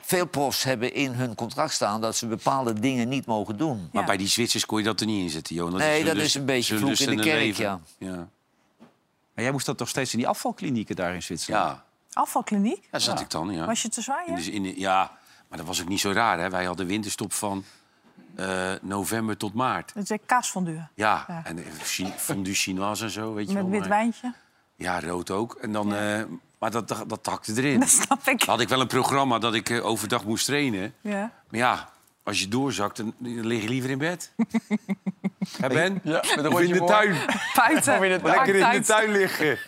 Speaker 5: veel profs hebben in hun contract staan dat ze bepaalde dingen niet mogen doen.
Speaker 4: Maar
Speaker 6: Ja.
Speaker 4: bij "Eh, die Zwitsers kon je dat dus er niet in zetten, Johan.
Speaker 5: Nee,
Speaker 4: hun
Speaker 5: dat
Speaker 4: lust-
Speaker 5: is een beetje
Speaker 4: hun
Speaker 5: vloek
Speaker 4: lust
Speaker 5: in
Speaker 4: en hun
Speaker 5: de kerk,
Speaker 4: leven.
Speaker 5: ja.
Speaker 4: Ja,
Speaker 1: Maar jij moest dat toch steeds in die afvalklinieken daar in Zwitserland?
Speaker 4: ja.
Speaker 6: Afvalkliniek?
Speaker 4: ja zat ik dan, ja.
Speaker 6: Was je te
Speaker 4: In
Speaker 6: zwaaien?
Speaker 4: de- in de- ja, maar dat was ook niet zo raar. Hè? Wij hadden winterstop van eh, november tot maart.
Speaker 6: Dat is kaas van duur.
Speaker 4: Ja,
Speaker 6: Ja.
Speaker 4: en eh, Chi- fondue chinoise en zo, weet je
Speaker 6: Met
Speaker 4: wel.
Speaker 6: wit
Speaker 4: maar-
Speaker 6: wijntje. [LAUGHS]
Speaker 4: Ja, rood ook. En dan, eh, maar dat, dat, dat hakte erin.
Speaker 6: Dat snap ik.
Speaker 4: Dan had ik wel een programma dat ik eh, overdag moest trainen.
Speaker 6: Ja.
Speaker 4: Maar ja, als je doorzakt, dan, dan lig je liever in bed. Hè Ben?
Speaker 3: Ja, met een
Speaker 4: Of in
Speaker 3: rondje
Speaker 4: de
Speaker 3: voor.
Speaker 4: tuin.
Speaker 6: Buiten.
Speaker 4: Lekker in de
Speaker 6: Markthuis.
Speaker 4: tuin liggen.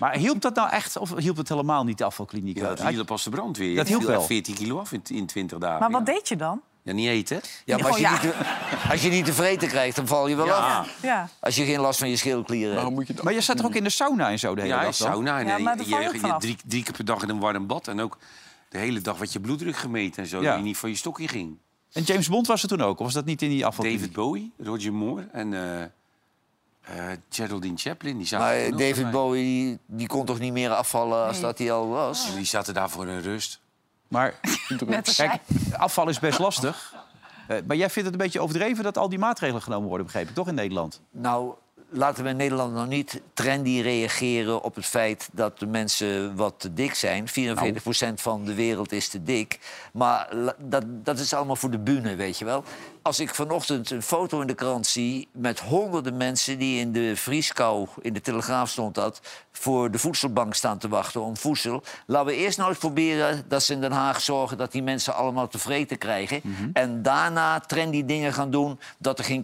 Speaker 1: Maar hielp dat nou echt of hielp het helemaal niet, de afvalklinieken?
Speaker 4: Ja, dat hielp pas de brandweer.
Speaker 1: Dat
Speaker 4: Ik viel
Speaker 1: hielp
Speaker 4: echt
Speaker 1: wel.
Speaker 4: 14 kilo af in, in 20 dagen.
Speaker 6: Maar wat
Speaker 4: ja.
Speaker 6: deed je dan?
Speaker 4: Ja, niet eten.
Speaker 5: Ja, maar als je,
Speaker 6: Oh, ja.
Speaker 5: Niet te, [LAUGHS] als je niet tevreden krijgt, dan val je wel af.
Speaker 6: Ja.
Speaker 5: Als je geen last van je schildklieren hebt.
Speaker 3: Nou, moet je dat?
Speaker 1: Maar je zat er ook in de sauna en zo de hele
Speaker 4: Ja, in
Speaker 1: dag dan?
Speaker 4: sauna. En
Speaker 6: Ja,
Speaker 4: eh,
Speaker 6: maar daar
Speaker 4: je,
Speaker 6: val je
Speaker 4: je-
Speaker 6: ook vanaf.
Speaker 4: drie, drie keer per dag in een warm bad. En ook de hele dag wat je bloeddruk gemeten en zo.
Speaker 1: Ja.
Speaker 4: Dat je niet van je stokje ging.
Speaker 1: En James Bond was er toen ook? Of was dat niet in die afvalkliniek?
Speaker 4: David Bowie, Roger Moore en eh, eh, Geraldine Chaplin. Die zaten,
Speaker 5: Maar
Speaker 4: toen
Speaker 5: eh,
Speaker 4: ook
Speaker 5: David
Speaker 4: bij.
Speaker 5: Bowie die, die kon toch niet meer afvallen als dat hij al was?
Speaker 4: die zaten daar voor een rust. [LAUGHS]
Speaker 1: Maar kijk, afval is best lastig. Eh, maar jij vindt het een beetje overdreven dat al die maatregelen genomen worden, begreep ik, toch in Nederland?
Speaker 5: Nou, laten we in Nederland nog niet trendy reageren op het feit dat de mensen wat te dik zijn. 44% van de wereld is te dik. Maar la- dat, dat is allemaal voor de bühne, weet je wel. Als ik vanochtend een foto in de krant zie met honderden mensen die in de vrieskou, in de Telegraaf stond dat, voor de voedselbank staan te wachten om voedsel. Laten we eerst nou eens proberen dat ze in Den Haag zorgen dat die mensen allemaal tevreden krijgen. En daarna trendy dingen gaan doen dat er geen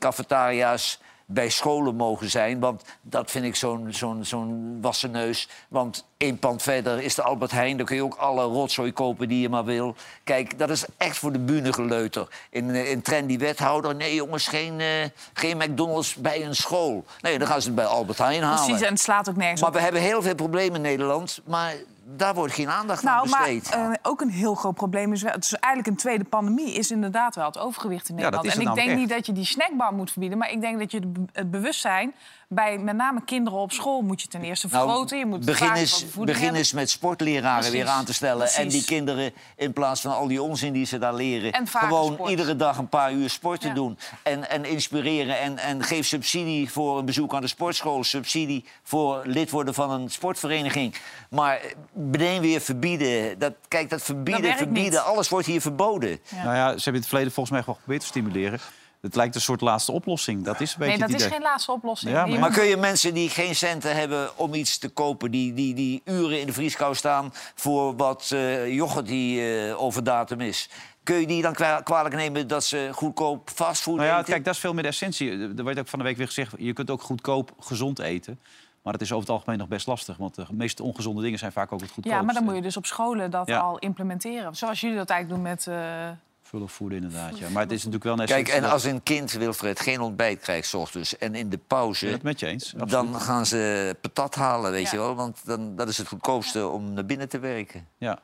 Speaker 5: cafetaria's bij scholen mogen zijn. Want dat vind ik zo'n zo'n zo'n wassen neus. Want één pand verder is de Albert Heijn. Daar kun je ook alle rotzooi kopen die je maar wil. Kijk, dat is echt voor de bühne geleuter. In, eh, in trendy wethouder. Nee, jongens, geen, eh, geen McDonald's bij een school. Nee, dan gaan ze het bij Albert Heijn halen.
Speaker 6: Precies, en het slaat ook nergens
Speaker 5: Maar
Speaker 6: op.
Speaker 5: we hebben heel veel problemen in Nederland. Maar daar wordt geen aandacht aan
Speaker 6: Nou, maar
Speaker 5: besteed.
Speaker 6: eh, ook een heel groot probleem is wel... Het is eigenlijk een tweede pandemie, is inderdaad wel het overgewicht in
Speaker 5: Ja, dat
Speaker 6: Nederland.
Speaker 5: is het
Speaker 6: en ik denk
Speaker 5: namelijk
Speaker 6: niet dat je die snackbar moet verbieden... maar ik denk dat je het be- het bewustzijn bij met name kinderen op school... moet je ten eerste
Speaker 5: Nou,
Speaker 6: vergroten, je moet
Speaker 5: begin
Speaker 6: vragen
Speaker 5: eens,
Speaker 6: wat voeding
Speaker 5: begin
Speaker 6: hebben.
Speaker 5: eens met sportleraren
Speaker 6: Precies,
Speaker 5: weer aan te stellen. En
Speaker 6: precies.
Speaker 5: die kinderen, in plaats van al die onzin die ze daar leren...
Speaker 6: En vaker
Speaker 5: gewoon
Speaker 6: sport.
Speaker 5: iedere dag een paar uur sport te doen. En, en inspireren. En, en geef subsidie voor een bezoek aan de sportschool. Subsidie voor lid worden van een sportvereniging. Maar eh, meteen weer verbieden. Dat, kijk, dat verbieden,
Speaker 1: werkt
Speaker 5: verbieden.
Speaker 1: niet.
Speaker 5: Alles wordt hier verboden.
Speaker 1: Nou ja, ze hebben in het verleden volgens mij gewoon geprobeerd te stimuleren. Het lijkt een soort laatste oplossing. Dat is een beetje
Speaker 6: Nee, dat
Speaker 1: het
Speaker 6: is
Speaker 1: idee.
Speaker 6: geen laatste oplossing.
Speaker 1: Ja,
Speaker 6: Je
Speaker 5: maar,
Speaker 6: moet-
Speaker 5: kun je mensen die geen centen hebben om iets te kopen... die, die, die uren in de vrieskou staan voor wat eh, yoghurt die eh, overdatum is... kun je die dan kwa- kwalijk nemen dat ze goedkoop fastfood
Speaker 1: Nou ja,
Speaker 5: eten?
Speaker 1: kijk, dat is veel meer de essentie. Er werd ook van de week weer gezegd, je kunt ook goedkoop gezond eten. Maar dat is over het algemeen nog best lastig. Want de meest ongezonde dingen zijn vaak ook het goedkoopste.
Speaker 6: ja, maar dan moet je dus op scholen dat
Speaker 1: Ja.
Speaker 6: al implementeren. Zoals jullie dat eigenlijk doen met... eh,
Speaker 1: Vullen voeden inderdaad, ja. Maar het is natuurlijk wel een
Speaker 5: Kijk,
Speaker 1: essentie
Speaker 5: en
Speaker 1: dat-
Speaker 5: als een kind, Wilfred, geen ontbijt krijgt s ochtends... en in de pauze...
Speaker 1: Ja, dat met je eens, absoluut.
Speaker 5: dan gaan ze patat halen, weet je wel. Want dan, dat is het goedkoopste om naar binnen te werken.
Speaker 1: Ja.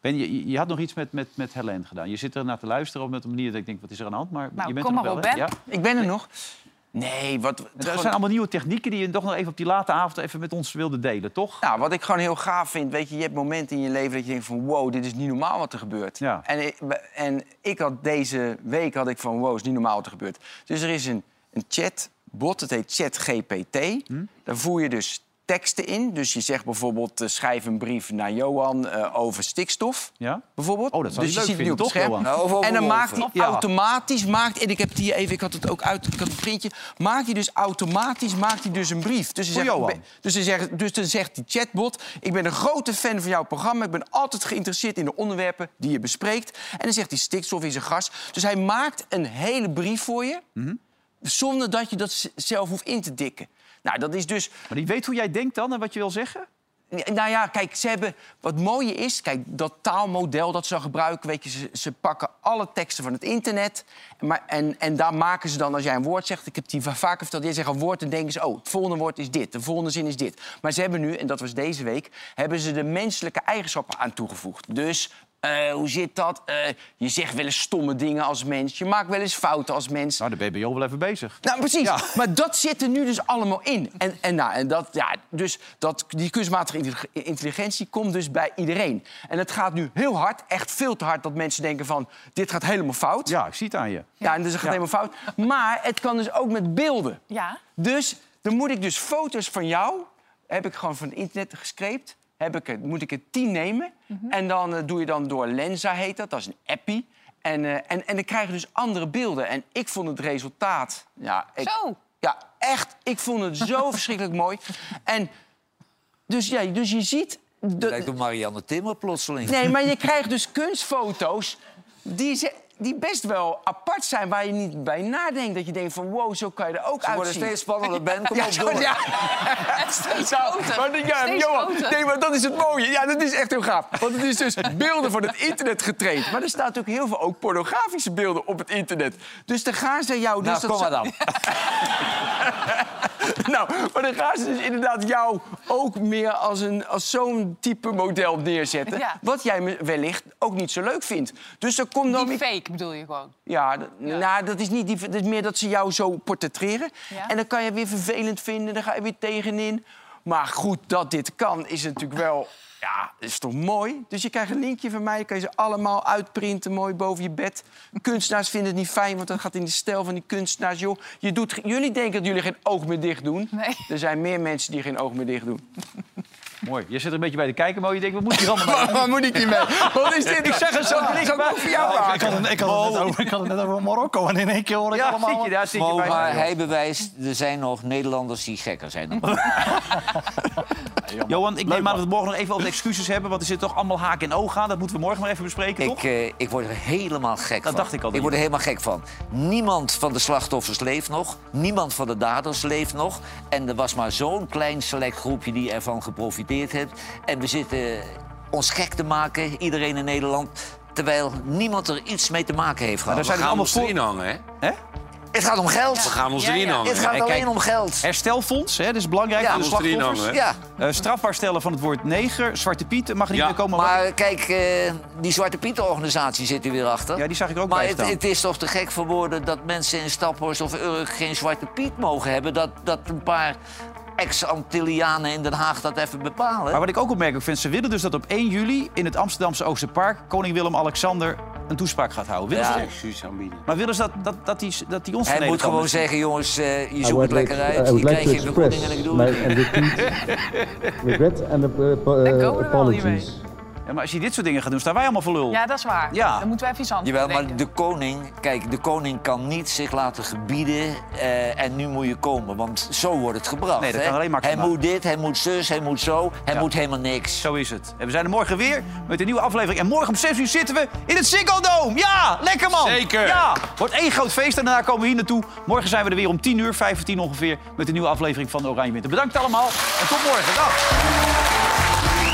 Speaker 1: Ben, je, je- je had nog iets met, met, met Helene gedaan. Je zit er naar te luisteren op met een manier dat ik denk, wat is er aan de hand? Maar
Speaker 6: Nou,
Speaker 1: je bent
Speaker 6: kom
Speaker 1: er
Speaker 6: maar
Speaker 1: nog
Speaker 6: op,
Speaker 1: wel, hè?
Speaker 6: Ben.
Speaker 1: Ja.
Speaker 3: Ik ben er nog. Nee, wat...
Speaker 1: Er zijn allemaal nieuwe technieken die je toch nog even op die late avond even met ons wilde delen, toch?
Speaker 3: Nou, wat ik gewoon heel gaaf vind, weet je, je hebt momenten in je leven dat je denkt van wow, dit is niet normaal wat er gebeurt. En, ik, en ik had deze week had ik van wow, is niet normaal wat er gebeurt. Dus er is een, een chatbot, het heet ChatGPT. Daar voer je dus teksten in. Dus je zegt bijvoorbeeld, eh, schrijf een brief naar Johan eh, over stikstof.
Speaker 1: Ja?
Speaker 3: Bijvoorbeeld.
Speaker 1: Oh, dat zou
Speaker 3: dus
Speaker 1: je leuk
Speaker 3: ziet het nu
Speaker 1: vinden,
Speaker 3: op het
Speaker 1: toch,
Speaker 3: scherm.
Speaker 1: Johan? Nou, over- over
Speaker 3: en dan
Speaker 1: wolven.
Speaker 3: maakt hij
Speaker 1: Ja.
Speaker 3: automatisch, maakt, en ik heb het hier even, ik had het ook uit, ik had het printje. Maakt hij dus automatisch, maakt hij dus een brief. Dus hij
Speaker 1: Voor
Speaker 3: zegt,
Speaker 1: Johan.
Speaker 3: ik ben- dus, dan zegt, dus dan zegt die chatbot... ik ben een grote fan van jouw programma. Ik ben altijd geïnteresseerd in de onderwerpen die je bespreekt. En dan zegt hij stikstof is een gas. Dus hij maakt een hele brief voor je...
Speaker 1: Mhm.
Speaker 3: zonder dat je dat z- zelf hoeft in te dikken. Nou, dat is dus...
Speaker 1: Maar die weet hoe jij denkt dan en wat je wil zeggen?
Speaker 3: Nou ja, kijk, ze hebben... Wat mooie is, kijk, dat taalmodel dat ze dan gebruiken... weet je, ze, ze pakken alle teksten van het internet... Maar, en, en daar maken ze dan, als jij een woord zegt... ik heb die va- vaker verteld, jij zegt een woord en denken ze... oh, het volgende woord is dit, de volgende zin is dit. Maar ze hebben nu, en dat was deze week... hebben ze de menselijke eigenschappen aan toegevoegd. Dus... eh, hoe zit dat? Eh, je zegt wel eens stomme dingen als mens. Je maakt wel eens fouten als mens.
Speaker 1: Nou, daar ben je al wel even bezig.
Speaker 3: Nou, precies. Maar dat zit er nu dus allemaal in. En, en, nou, en dat, ja, dus dat, die kunstmatige intellig- intelligentie komt dus bij iedereen. En het gaat nu heel hard, echt veel te hard, dat mensen denken van... dit gaat helemaal fout.
Speaker 1: Ja, ik zie het aan je.
Speaker 3: Ja, en dus het gaat helemaal fout. Maar het kan dus ook met beelden.
Speaker 6: Ja.
Speaker 3: Dus dan moet ik dus foto's van jou... heb ik gewoon van het internet gescreept. Heb ik er, moet ik er tien nemen. En dan eh, doe je dan door Lenza, heet dat. Dat is een appie. En, eh, en, en dan krijg je dus andere beelden. En ik vond het resultaat... Ja, ik,
Speaker 6: Zo.
Speaker 3: Ja, echt. Ik vond het
Speaker 5: [LAUGHS]
Speaker 3: zo verschrikkelijk mooi. En dus, ja, dus je ziet... de-
Speaker 5: Lijkt op Marianne Timmer plotseling.
Speaker 3: Nee, maar je krijgt dus kunstfoto's die, ze, die best wel apart zijn... waar je niet bij nadenkt. Dat je denkt van, wow, zo kan je er ook
Speaker 5: Ze
Speaker 3: uitzien.
Speaker 5: worden steeds spannender, Ben.
Speaker 3: [LAUGHS]
Speaker 5: Kom
Speaker 3: Ja,
Speaker 5: op,
Speaker 3: zo-
Speaker 5: door.
Speaker 3: ja. [LAUGHS] Ja, maar, die- ja,
Speaker 5: Steeds
Speaker 3: Johan,
Speaker 5: groter.
Speaker 3: nee, maar dat is het mooie. Ja, dat is echt heel gaaf. Want het is dus beelden van het internet getraind. Maar er staat ook heel veel ook pornografische beelden op het internet. Dus dan gaan ze jou...
Speaker 5: Nou,
Speaker 3: dus
Speaker 5: kom maar
Speaker 3: zou-
Speaker 5: dan.
Speaker 3: [LAUGHS] nou, maar dan gaan ze dus inderdaad jou ook meer als, een- als zo'n type model neerzetten.
Speaker 6: Ja.
Speaker 3: Wat jij me- wellicht ook niet zo leuk vindt. Dus er komt dan...
Speaker 6: Die fake bedoel je gewoon.
Speaker 3: Ja, d- Nou, dat is niet die, dat is meer dat ze jou zo portretteren.
Speaker 6: Ja.
Speaker 3: En dan kan je weer vervelend vinden, dan ga je weer tegenin. Maar goed, dat dit kan is natuurlijk wel... Ja, is toch mooi? Dus je krijgt een linkje van mij, kan je ze allemaal uitprinten, mooi boven je bed. Kunstenaars vinden het niet fijn, want dat gaat in de stijl van die kunstenaars. Joh, je doet, ge- jullie denken dat jullie geen oog meer dicht doen.
Speaker 6: Nee.
Speaker 3: Er zijn meer mensen die geen oog meer dicht doen.
Speaker 1: Mooi. Je zit er een beetje bij te kijken, maar je denkt, wat moet je allemaal
Speaker 3: [LAUGHS] Waar- waar moet ik hier mee? Wat is dit?
Speaker 1: Ik zeg het zo
Speaker 3: Zal ik
Speaker 1: niks
Speaker 3: ook
Speaker 1: bij.
Speaker 3: voor jou maken?
Speaker 2: Ik had het, ik had het, net, over, ik had het net over Marokko en in één keer hoor ik
Speaker 1: Ja,
Speaker 2: allemaal...
Speaker 1: zit je daar, zit je
Speaker 5: Mo,
Speaker 1: bij
Speaker 5: maar
Speaker 1: mij,
Speaker 5: hij bewijst, er zijn nog Nederlanders die gekker zijn dan
Speaker 1: Johan, ik neem aan dat we morgen nog even over de excuses hebben. Want er zit toch allemaal haak en oog aan. Dat moeten we morgen maar even bespreken, toch?
Speaker 5: Ik, eh, ik word er helemaal gek
Speaker 1: Dat
Speaker 5: van.
Speaker 1: dacht ik al.
Speaker 5: Ik word er helemaal gek van. Niemand van de slachtoffers leeft nog. Niemand van de daders leeft nog. En er was maar zo'n klein select groepje die ervan geprofiteerd heeft. En we zitten ons gek te maken, iedereen in Nederland. Terwijl niemand er iets mee te maken heeft gehad.
Speaker 4: We gaan ons erin hangen, hè?
Speaker 5: Het gaat om geld.
Speaker 4: We gaan ons erin hangen.
Speaker 5: Het gaat
Speaker 1: En
Speaker 5: alleen
Speaker 1: kijk,
Speaker 5: om geld.
Speaker 1: Herstelfonds, hè, dat is belangrijk
Speaker 5: Ja.
Speaker 1: voor de
Speaker 5: Gaan ons erin
Speaker 1: slachtoffers.
Speaker 5: hangen,
Speaker 1: Eh, strafbaar stellen van het woord neger. Zwarte Piet mag niet meer komen.
Speaker 5: Maar kijk, eh, die Zwarte Pieten-organisatie zit er weer achter.
Speaker 1: Ja, die zag ik ook
Speaker 5: Maar
Speaker 1: bij
Speaker 5: het,
Speaker 1: staan.
Speaker 5: het is toch te gek voor woorden dat mensen in Staphorst of Urk geen Zwarte Piet mogen hebben. Dat, dat een paar ex-Antillianen in Den Haag dat even bepalen.
Speaker 1: Maar wat ik ook opmerkelijk vind, ze willen dus dat op 1 juli in het Amsterdamse Oosterpark koning Willem-Alexander een toespraak gaat houden. Willen
Speaker 5: Ja.
Speaker 1: ze dat?
Speaker 4: Excuus aanbieden.
Speaker 1: Maar willen ze dat, dat, dat, die, dat die ons
Speaker 5: Hij
Speaker 1: beneden
Speaker 5: moet gewoon
Speaker 1: komen?
Speaker 5: zeggen, jongens, eh, je
Speaker 13: I
Speaker 5: zoekt
Speaker 13: would like,
Speaker 5: lekker uit.
Speaker 13: I would
Speaker 5: Je
Speaker 13: like
Speaker 5: krijgt
Speaker 13: to
Speaker 5: geen vergoeding
Speaker 13: express
Speaker 5: en ik doe
Speaker 13: my
Speaker 5: het.
Speaker 13: and repeat regret and uh, ap- uh, apologies.
Speaker 1: Ja, maar als je dit soort dingen gaat doen, staan wij allemaal voor lul.
Speaker 6: Ja, dat is waar.
Speaker 1: Ja.
Speaker 6: Dan moeten we even iets anders
Speaker 5: Jawel,
Speaker 6: bedenken.
Speaker 5: maar de koning, kijk, de koning kan niet zich laten gebieden eh, en nu moet je komen, want zo wordt het gebracht.
Speaker 1: Nee, dat
Speaker 5: hè?
Speaker 1: kan alleen Maxima.
Speaker 5: Hij moet dit, hij moet zus, hij moet zo, hij
Speaker 1: Ja.
Speaker 5: moet helemaal niks.
Speaker 1: Zo is het. En we zijn er morgen weer met een nieuwe aflevering. En morgen om 6 uur zitten we in het Ziggo Dome. Ja, lekker man.
Speaker 4: Zeker.
Speaker 1: Ja, wordt één groot feest en daarna komen we hier naartoe. Morgen zijn we er weer om 10 uur, 15 ongeveer, met een nieuwe aflevering van Oranje Winter. Bedankt allemaal en tot morgen. Dag.